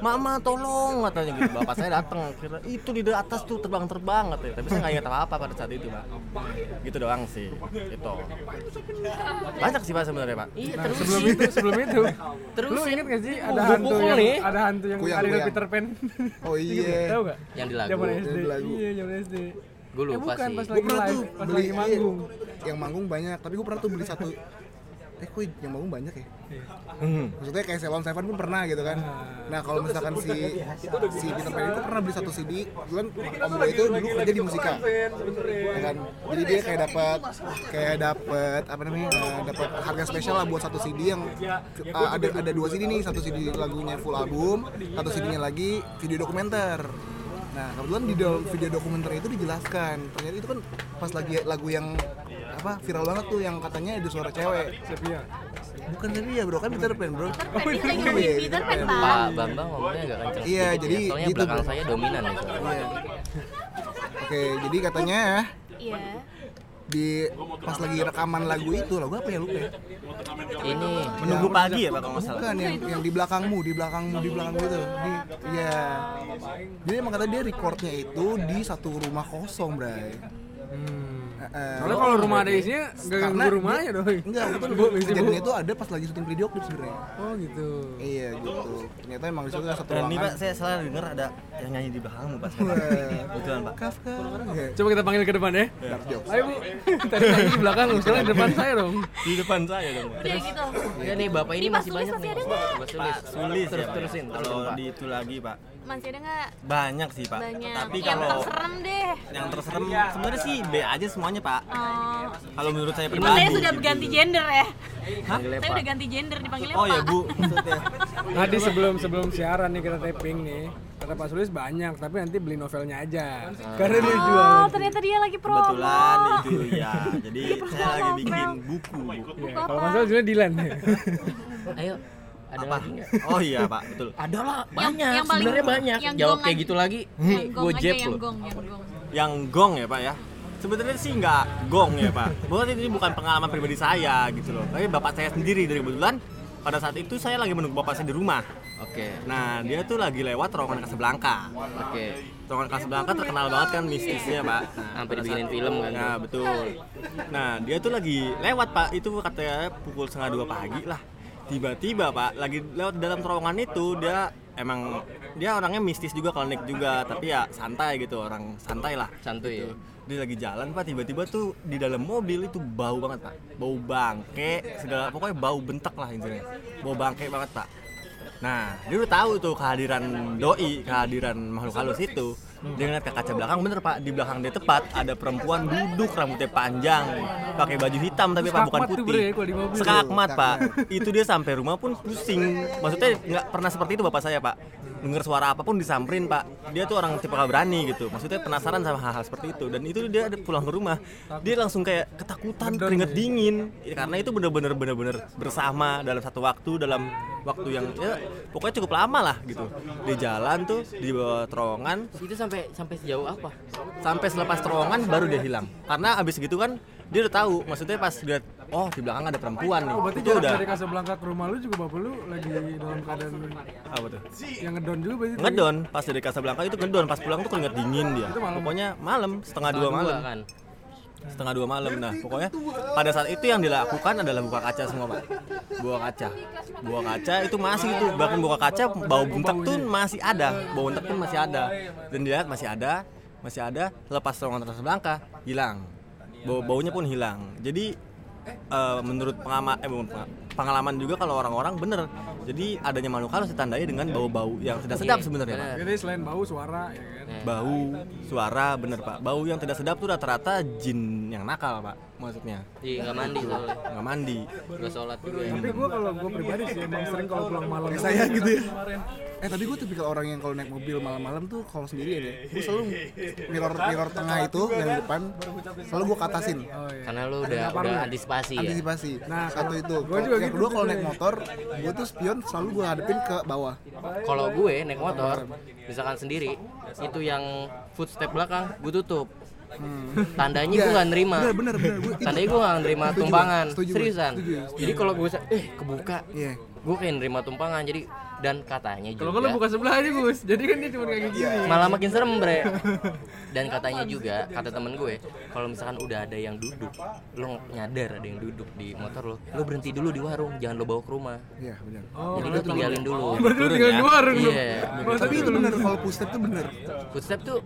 S4: Mama tolong katanya gitu Bapak saya datang kira itu di atas tuh terbang-terbang katanya Tapi saya nggak ingat apa-apa pada saat itu pak Gitu doang sih Itu Banyak sih pak sebenarnya pak
S2: Iya,
S1: Nah,
S2: terus
S1: sebelum itu, sebelum itu,
S2: Terus
S1: lu
S2: sih.
S1: inget gak sih ada
S2: Buku
S1: hantu yang
S2: nih.
S1: ada hantu yang
S5: Kuyang,
S1: aliran
S5: kuyang.
S1: Peter Pan?
S5: Oh
S1: Ingat nggak?
S5: iya.
S1: Tahu gak?
S2: Yang di lagu.
S1: Zaman SD.
S5: Yang di lagu.
S1: Iya, zaman SD.
S2: Gua
S1: eh,
S2: lupa
S1: bukan,
S2: sih.
S1: pas
S5: Gua
S1: lagi
S5: pernah
S1: live,
S5: tuh
S1: pas
S5: beli iya,
S1: lagi manggung.
S5: yang manggung banyak tapi gue pernah tuh beli satu eh kok yang manggung banyak ya maksudnya kayak Selon Seven pun pernah gitu kan
S1: Ah.
S5: nah kalau misalkan si si Peter Pan itu pernah beli satu CD kebetulan om gue itu dulu kerja di musika ya kan jadi dia kayak dapat kayak dapat apa namanya eh, dapat harga spesial lah buat satu CD yang eh, ada ada dua CD nih satu CD lagunya full album satu CD-nya lagi video dokumenter Nah, kebetulan di dalam video dokumenter itu dijelaskan. Ternyata itu kan pas lagi lagu yang apa viral banget tuh yang katanya ada suara cewek.
S1: Sepia.
S5: Bukan tapi ya bro, kan Peter Pan bro.
S3: Tapi
S4: Iya.
S3: lagi ngomongin Peter Pan, Pak.
S2: Pak Bambang ngomongnya agak kenceng.
S5: Iya,
S2: sedikit
S5: jadi
S2: ya. soalnya
S5: gitu,
S2: belakang
S5: Bro.
S2: saya dominan nih. soalnya.
S5: Iya. Oke, jadi katanya
S3: Iya.
S5: di pas lagi rekaman lagu itu lagu apa ya lupa ya?
S2: Ini
S4: Menunggu pagi ya pak kalau nggak salah
S5: Iya, Bukan yang yang di belakangmu, di belakangmu, di belakangmu itu. Di iya. Jadi emang kata dia recordnya itu di satu rumah kosong, Bray. Eh, eh.
S1: Soalnya kalau rumah ada isinya, gak ganggu
S5: Karena
S1: rumahnya
S5: dia-
S1: dong.
S5: Enggak, itu
S1: Bu, isi bu.
S5: kejadian itu ada pas lagi syuting video klip sebenarnya.
S1: Oh gitu.
S5: Iya gitu. Ternyata emang di situ ada satu
S4: Dan ini
S5: ruangan.
S4: pak, saya salah dengar ada yang nyanyi di belakangmu pak
S5: Wah.
S4: Betulan pak
S5: Kafka. Iya.
S1: Coba kita panggil ke depan ya.
S5: Dark jokes.
S1: Ayo bu, tadi lagi di belakang, sekarang di depan saya dong.
S4: Di depan saya dong pak
S3: Udah gitu.
S2: Iya nih Bapak ini
S3: Ini
S2: masih
S3: Pak Sulis
S2: banyak
S3: masih
S2: nih.
S3: ada nggak?
S2: Mas
S4: Pak
S2: Sulis.
S4: Sulis
S2: terus
S4: ya Pak,
S2: terusin,
S4: ya?
S2: terusin
S4: Kalau
S2: Pak.
S4: di itu lagi pak
S3: Masih ada nggak?
S4: Banyak sih pak
S3: Banyak.
S4: Tapi
S3: Yang
S4: kalau
S3: terserem deh.
S4: yang terserem sebenarnya sih B aja semuanya pak
S3: Oh.
S4: Kalau menurut saya
S3: Ibu
S4: pribadi
S3: saya sudah
S4: gitu.
S3: ganti gender ya.
S2: Panggilnya
S3: Saya
S2: Pak.
S3: udah ganti gender dipanggilnya
S4: Oh ya
S3: Pak.
S4: bu maksudnya.
S1: Nanti sebelum sebelum siaran nih kita taping nih. Kata Pak Sulis banyak, tapi nanti beli novelnya aja. Karena dia jual.
S3: Oh, ternyata dia lagi promo.
S4: Kebetulan itu ya Jadi saya lagi bikin buku Bu.
S1: Iya, Kalau nggak salah sebenarnya Dilan ya.
S2: Ayo. Ada
S4: Apa?
S2: lagi nggak?
S4: Oh iya pak betul
S2: Ada lah,
S3: banyak. yang paling- Sebenarnya banyak. yang
S2: Jawab
S3: gong
S2: kayak
S3: aja.
S2: gitu lagi,
S3: Yang gong
S2: gue
S3: aja,
S2: jeb
S3: yang
S2: lo.
S3: gong, yang gong.
S4: Yang gong ya pak ya Sebenarnya sih nggak gong ya pak Bahkan ini bukan pengalaman pribadi saya gitu loh Tapi bapak saya sendiri dari kebetulan pada saat itu saya lagi menunggu bapak saya di rumah
S2: Oke,
S4: Nah, dia tuh lagi lewat terowongan Casablanca.
S2: oke.
S4: Terowongan Casablanca terkenal banget kan mistisnya, Pak. Nah,
S2: Hampir
S4: pada
S2: dibikinin
S4: saat-
S2: film kan tuh.
S4: Nah, betul. Nah, dia tuh lagi lewat, Pak. Itu katanya pukul setengah dua pagi lah. Tiba-tiba, Pak, lagi lewat dalam terowongan itu, dia emang dia orangnya mistis juga, klinik juga, tapi ya santai gitu, orang santai lah.
S2: Santuy ya.
S4: gitu
S3: Gitu.
S4: Dia lagi jalan, Pak, tiba-tiba tuh di dalam mobil itu bau banget, Pak. Bau bangke, segala pokoknya bau bentak lah intinya. Bau bangke banget, Pak. Nah, dia udah tahu tuh kehadiran doi, kehadiran makhluk halus itu. Dia ngeliat ke kaca belakang, bener pak, di belakang dia tepat ada perempuan duduk rambutnya panjang, pakai baju hitam tapi pak bukan
S1: Skakmat tuh,
S4: putih.
S1: Bre, kalau di mobil.
S4: Skakmat pak, itu dia sampai rumah pun pusing. Maksudnya nggak pernah seperti itu bapak saya pak. Dengar suara apapun disamperin pak. Dia tuh orang tipe berani gitu. Maksudnya penasaran sama hal-hal seperti itu. Dan itu dia ada pulang ke rumah, dia langsung kayak ketakutan, keringet dingin. Ya, Karena itu bener-bener bener-bener bersama dalam satu waktu dalam waktu yang ya, pokoknya cukup lama lah gitu. Di jalan tuh di bawah terowongan
S2: Itu sampai sampai sejauh apa?
S4: sampai selepas terowongan baru dia hilang karena abis gitu kan dia udah tahu maksudnya pas dia oh di belakang ada perempuan nih
S1: Oh, berarti
S4: itu
S1: jarak
S4: udah
S1: dari Casablanca ke rumah lu juga bapak lu lagi dalam keadaan Ah,
S4: apa tuh
S1: yang ngedown juga berarti. tuh.
S4: ngedon pas dari Casablanca itu ngedon pas pulang tuh keringat dingin dia
S1: Itu malam.
S4: pokoknya malam setengah dua malam
S2: kan.
S4: setengah dua malam nah pokoknya pada saat itu yang dilakukan adalah buka kaca semua pak buka kaca buka kaca itu masih itu bahkan buka kaca bau buntak tuh masih ada bau buntak pun masih ada dan dilihat masih ada masih ada lepas terowongan Casablanca hilang bau baunya pun hilang jadi eh, menurut pengalaman eh, bukan penga- pengalaman juga kalau orang-orang bener jadi adanya makhluk halus ditandai dengan bau-bau yang tidak sedap sebenarnya Pak
S1: Jadi selain bau suara ya kan.
S4: Iya. bau suara bener pak bau yang tidak sedap tuh rata-rata jin yang yang nakal pak maksudnya
S2: Iya, nggak mandi soalnya.
S4: nggak mandi
S2: Nggak sholat juga.
S1: tapi gue kalau gue pribadi sih emang sering kalau pulang malam
S5: Kayak saya gitu ya Eh tapi gue tipikal orang yang kalau naik mobil malam-malam tuh kalau sendirian ya Gue selalu mirror mirror tengah itu yang depan Selalu gue katasin
S2: Karena lu udah udah antisipasi ya.
S5: antisipasi
S1: Nah,
S5: satu itu
S1: gua juga
S5: yang
S1: gitu
S5: kedua
S1: tuh,
S5: kalau
S1: Bre.
S5: naik motor gue tuh spion selalu gue hadepin ke bawah
S2: Kalau gue naik motor, misalkan sendiri, itu yang footstep belakang gue tutup. Tandanya gue Iya, nggak nerima.
S5: Hmm. Iya. bener bener bener gue itu
S2: Tandanya gue nggak nerima
S5: Setuju,
S2: tumpangan,
S5: setuju, Bang.
S2: seriusan.
S5: Setuju,
S2: Jadi kalau gue sa- eh kebuka,
S5: iya
S2: gue kayak nerima tumpangan. Jadi dan katanya juga.
S1: kalau gue lu buka sebelah aja Gus jadi kan dia cuma kayak gini
S2: malah makin serem bre dan katanya juga kata temen gue kalau misalkan udah ada yang duduk lo nyadar ada yang duduk di motor lo lo berhenti dulu di warung jangan lo bawa ke rumah
S5: iya bener
S1: Oh,
S2: jadi lo tinggalin dulu
S1: berarti lu tinggal di warung dong
S2: Iya.
S1: Masa
S5: tapi itu bener kalau push step tuh bener
S2: footstep tuh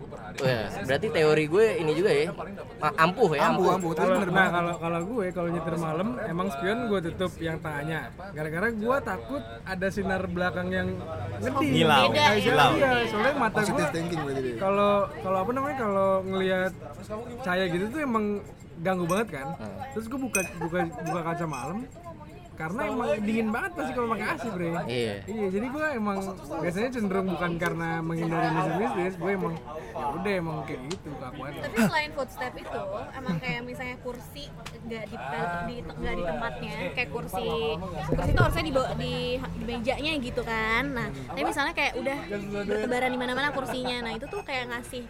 S2: wah, berarti teori gue ini juga ya ma- ampuh ya
S5: ampuh
S2: ampuh
S5: ampuh tapi
S1: Kalau-
S5: bener
S1: nah
S5: banget
S1: kalau kalau gue kalau nyetir malam emang spion gue tutup yang tanya gara-gara gue takut ada sinar belakang yang gede
S4: Ngilau.
S3: Beda ya.
S4: Ngilau.
S1: iya soalnya mata gue
S5: positive thinking berarti dia
S1: kalau kalau apa namanya kalau ngelihat cahaya gitu tuh emang ganggu banget kan terus gue buka buka buka kaca malam karena emang dingin banget pasti kalau pakai AC bre
S2: Iya.
S1: iya jadi gue emang biasanya cenderung bukan karena menghindari mistis-mistis gue emang ya udah emang kayak gitu kelakuannya
S3: tapi selain footstep itu emang kayak misalnya kursi nggak di di nggak di tempatnya kayak kursi kursi itu harusnya di, bawah- di di mejanya gitu kan nah tapi misalnya kayak udah bertebaran di mana-mana kursinya nah itu tuh kayak ngasih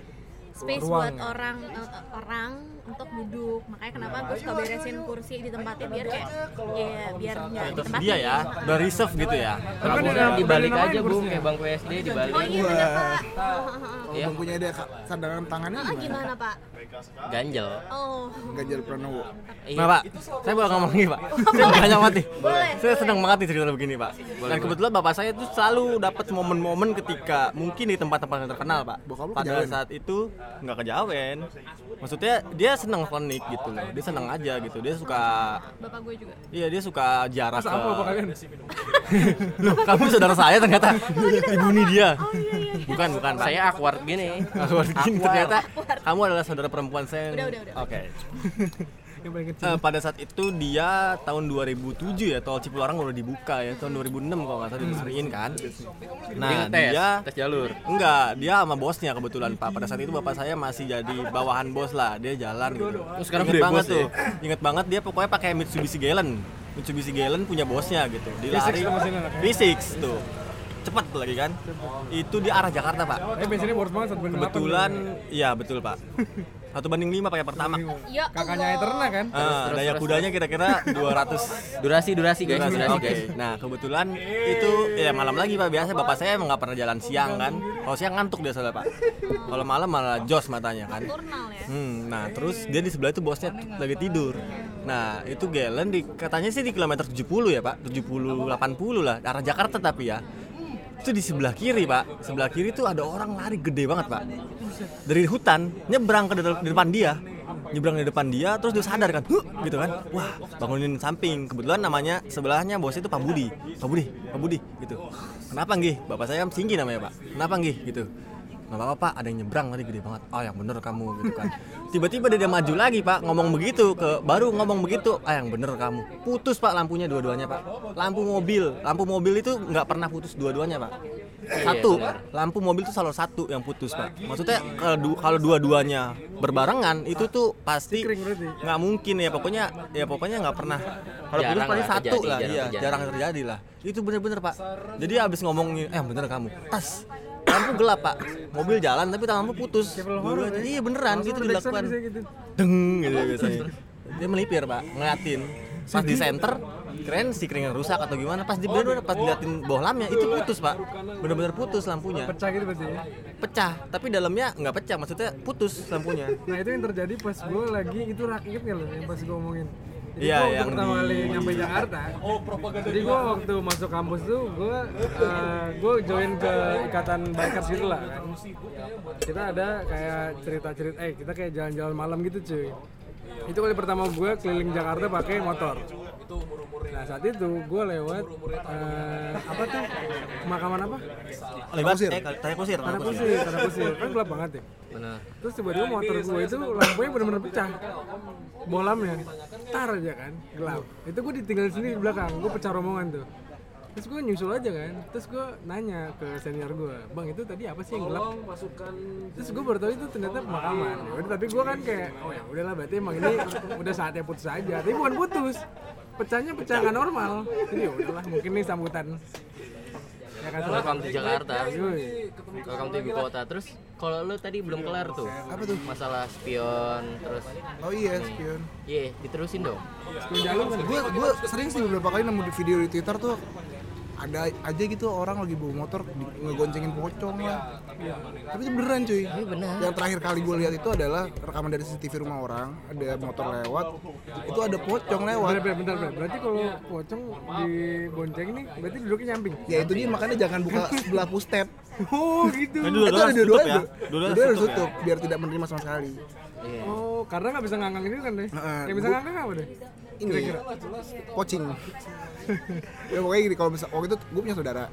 S3: space buat orang eh, eh, orang untuk duduk makanya kenapa gue suka beresin kursi di tempatnya biar kayak ya biar nggak di tempat
S4: dia ya udah reserve gitu ya
S1: kan
S2: Gue
S1: ada
S2: dibalik
S1: namanya
S2: aja gue
S1: kursinya.
S2: kayak bangku SD dibalik
S3: oh iya bener pak
S1: Iya.
S5: kalau bangkunya ada ka- cadangan tangannya
S3: Ah,
S5: gimana
S3: gimana pak
S2: ganjel Iya.
S3: oh
S5: Ganjar Pranowo
S4: Nah pak, saya boleh ngomong lagi pak Saya banyak banget nih
S3: Boleh,
S4: Saya senang banget nih cerita begini pak Dan kebetulan bapak saya tuh selalu dapat momen-momen ketika Mungkin di tempat-tempat yang terkenal pak
S5: Bokap lu
S4: Pada
S5: kejawen.
S4: saat itu nggak kejawen Maksudnya dia senang klinik gitu loh Dia senang aja gitu Dia suka
S3: bapak gue juga
S4: Iya dia suka jarak
S1: Terus apa apa
S4: ke
S1: kalian
S4: Loh, kamu saudara saya ternyata Ibuni dia
S3: oh iya iya iya.
S4: Bukan, bukan pak
S2: saya awkward gini
S4: Aku ternyata kamu adalah saudara perempuan saya
S3: Udah,
S4: yang-
S3: udah, udah.
S4: Oke
S1: yang paling kecil
S4: Eh, pada saat itu dia tahun 2007 ya tol Cipularang udah dibuka ya tahun 2006 kalau nggak salah diresmiin kan nah
S2: Ini tes,
S4: dia
S2: tes jalur
S4: enggak dia sama bosnya kebetulan pak pada saat itu bapak saya masih jadi bawahan bos lah dia jalan gitu
S2: Oh, sekarang
S4: inget
S2: gede
S4: banget
S2: bos ya?
S4: tuh inget banget dia pokoknya pakai Mitsubishi Galen Mitsubishi Galen punya bosnya gitu dilari
S1: tuh mesinnya, Pak.
S4: V6 tuh cepet lagi kan itu di arah Jakarta pak
S1: eh bensinnya boros banget satu banding delapan.
S4: kebetulan iya betul pak satu banding lima pakai pertama
S3: ya
S1: kakaknya
S3: Allah.
S1: Eterna kan
S4: Ah, daya kudanya kira-kira 200
S2: durasi durasi guys
S4: Durasi,
S2: durasi
S4: oke.
S2: guys
S4: Nah kebetulan itu ya malam lagi pak biasa bapak saya emang nggak pernah jalan siang kan. Kalau siang ngantuk dia soalnya pak. Kalau malam malah jos matanya kan.
S3: Turnal ya
S4: Hmm, nah terus dia di sebelah itu bosnya t- lagi tidur. Nah itu Galen di, katanya sih di kilometer 70 ya pak, 70 80 lah arah Jakarta tapi ya. Itu di sebelah kiri pak, sebelah kiri tuh ada orang lari gede banget pak. Dari hutan nyebrang ke de- di depan dia, nyebrang di depan dia terus dia sadar kan, "Huh," gitu kan. Wah bangunin samping. Kebetulan namanya sebelahnya bosnya itu Pak Budi, Pak Budi, Pak Budi gitu. Kenapa nggih? Bapak saya Singgi namanya pak. Kenapa nggih gitu? nggak apa-apa pak, ada yang nyebrang tadi gede banget oh yang bener kamu gitu kan tiba-tiba dia dia maju lagi pak ngomong begitu ke baru ngomong begitu ah yang bener kamu putus pak lampunya dua-duanya pak lampu mobil lampu mobil itu nggak pernah putus dua-duanya pak satu lampu mobil itu selalu satu yang putus pak maksudnya kalau du- kalau dua-duanya berbarengan itu tuh pasti nggak mungkin ya pokoknya ya pokoknya nggak pernah kalau
S2: Jarang
S4: putus pasti
S2: lah
S4: satu
S2: terjadi,
S4: lah
S2: jarang
S4: iya
S2: terjadi.
S4: jarang terjadi lah itu bener-bener pak jadi abis ngomongin eh bener kamu tas lampu gelap pak mobil jalan tapi lampu putus Dua-duanya. iya beneran gitu dilakukan deng gitu biasanya dia melipir pak ngeliatin pas di center keren kering yang rusak atau gimana pas Oh, di Iya, bener pas diliatin bawah lamnya itu putus pak bener-bener putus lampunya
S1: pecah gitu berarti ya
S4: pecah tapi dalamnya nggak pecah maksudnya putus lampunya
S1: nah itu yang terjadi pas gue lagi itu ra- inget nggak lo yang pas gue omongin Jadi
S4: Iya,
S1: gua waktu
S4: yang
S1: pertama
S4: di-
S1: kali nyampe Jakarta jadi gue waktu masuk kampus tuh gue gue join ke ikatan bikers gitu lah kan kita ada kayak cerita cerita eh kita kayak jalan-jalan malam gitu cuy itu kali pertama gue keliling Jakarta pakai motor Nah saat itu gue lewat eh, apa tuh pemakaman apa?
S4: Lebat,
S5: Kusir.
S4: eh, tanya kusir.
S1: Tanah kusir, tanah kusir kan gelap banget ya.
S4: Benar.
S1: Terus tiba-tiba motor gue itu lampunya benar-benar pecah. Bolamnya, tar aja kan, gelap. Itu gue ditinggalin sendiri di belakang, gue pecah rombongan tuh. Terus gue nyusul aja kan, terus gue nanya ke senior gue, bang itu tadi apa sih yang gelap? Terus gue baru tahu itu ternyata pemakaman. Ya udah, tapi gue kan kayak, oh ya udahlah berarti emang ini udah saatnya putus aja. Tapi bukan putus, pecahnya pecah nggak normal. Jadi ya udahlah, mungkin nih sambutan. Ya kan,
S2: Welcome to Jakarta.
S1: Yoi.
S2: Welcome to ibu kota. Terus kalau lu tadi belum kelar tuh.
S5: Apa tuh?
S2: Masalah spion terus
S5: Oh iya, spion.
S2: Iya, diterusin dong.
S1: Sepuluh jalur kan?
S5: gue gue sering sih beberapa kali nemu di video di twitter tuh ada aja gitu orang lagi bawa motor di- ngegoncengin pocong lah tapi itu beneran cuy yang terakhir kali gue lihat itu adalah rekaman dari CCTV rumah orang ada motor lewat itu ada pocong lewat
S1: Bentar, bentar, bentar, bentar. Berarti kalau pocong di bonceng nih, berarti duduknya nyamping.
S5: ya itu dia makanya jangan buka sebelah step
S1: Oh, gitu.
S4: Kan
S5: itu ada dua-duanya
S4: ya.
S5: dua
S4: Dua-duanya
S5: harus
S4: tutup. ya?
S5: tutup biar tidak menerima sama sekali
S1: Oh, karena nggak bisa ngangkang ini kan deh.
S5: Heeh.
S1: Yang bisa ngangkang apa deh?
S5: ini pocing ya pokoknya gini kalau misal waktu itu gue punya saudara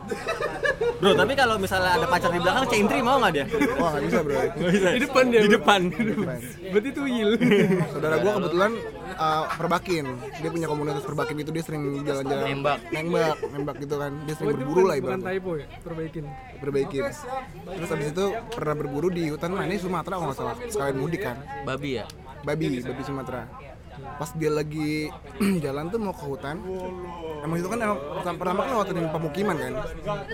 S4: Bro, tapi kalau misalnya ada pacar di belakang, cengtri mau nggak dia?
S5: wah gak bisa bro
S1: Di depan dia.
S4: Di
S1: Bro.
S4: depan.
S5: Keren.
S1: Berarti
S5: Iya,
S1: tuyul.
S5: Saudara gua kebetulan uh, perbakin, dia punya komunitas perbakin gitu dia sering jalan-jalan
S2: Nembak.
S5: nembak, nembak gitu kan, dia
S1: Oh,
S5: sering
S1: itu
S5: berburu
S1: bukan,
S5: lah
S1: bukan
S5: ibaratnya,
S1: typo ya, perbaikin.
S5: perbaikin. Terus habis itu pernah berburu di hutan mana ini Sumatera kalau nggak salah, sekalian mudik kan,
S2: Babi ya?
S5: babi, babi Sumatera. Pas dia lagi jalan tuh mau ke hutan, emang itu kan emang pertama, pertama kan lewatin pemukiman kan,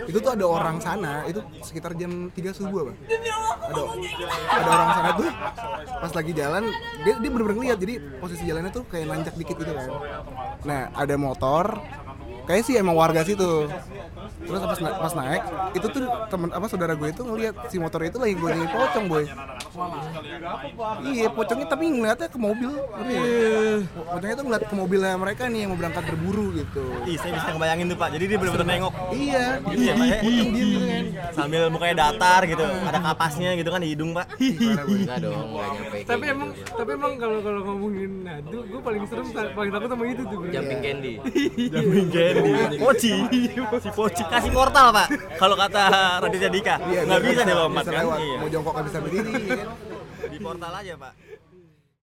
S5: itu tuh ada orang sana, itu sekitar jam 3 subuh apa? ada ada orang sana tuh pas lagi jalan dia dia bener-bener ngeliat jadi posisi jalannya tuh kayak nanjak dikit gitu kan nah ada motor kayak sih emang warga situ terus pas, na- pas naik itu tuh temen apa saudara gue itu ngeliat si motor itu lagi gue pocong boy iya pocongnya tapi ngeliatnya ke mobil ngerti nggak?
S4: Iya.
S5: Po- pocongnya tuh ngeliat ke mobilnya mereka nih yang mau berangkat berburu gitu
S4: Ih, saya bisa ngebayangin tuh, Pak. Jadi dia benar-benar nengok.
S5: iya
S4: Gitu ya, Pak, ya?
S5: kan.
S4: Sambil mukanya datar gitu, ada kapasnya gitu kan di hidung, Pak.
S2: Iya,
S5: Iya.
S2: Enggak dong, enggak nyampe. kayak
S1: Tapi
S2: gitu.
S1: emang tapi emang kalau kalau ngomongin aduh, gue paling serem ta- paling takut sama itu tuh. Bro.
S2: jumping
S5: Iya.
S2: candy.
S4: Jamin Gendi. Poci. Si Poci kasih portal, Pak. Kalau kata Raditya Dika, nggak bisa dia lompat
S5: Iya, bisa
S4: kan?
S5: lewat.
S4: Iya.
S5: mau jongkok nggak bisa berdiri ya kan?
S4: Di portal aja, Pak.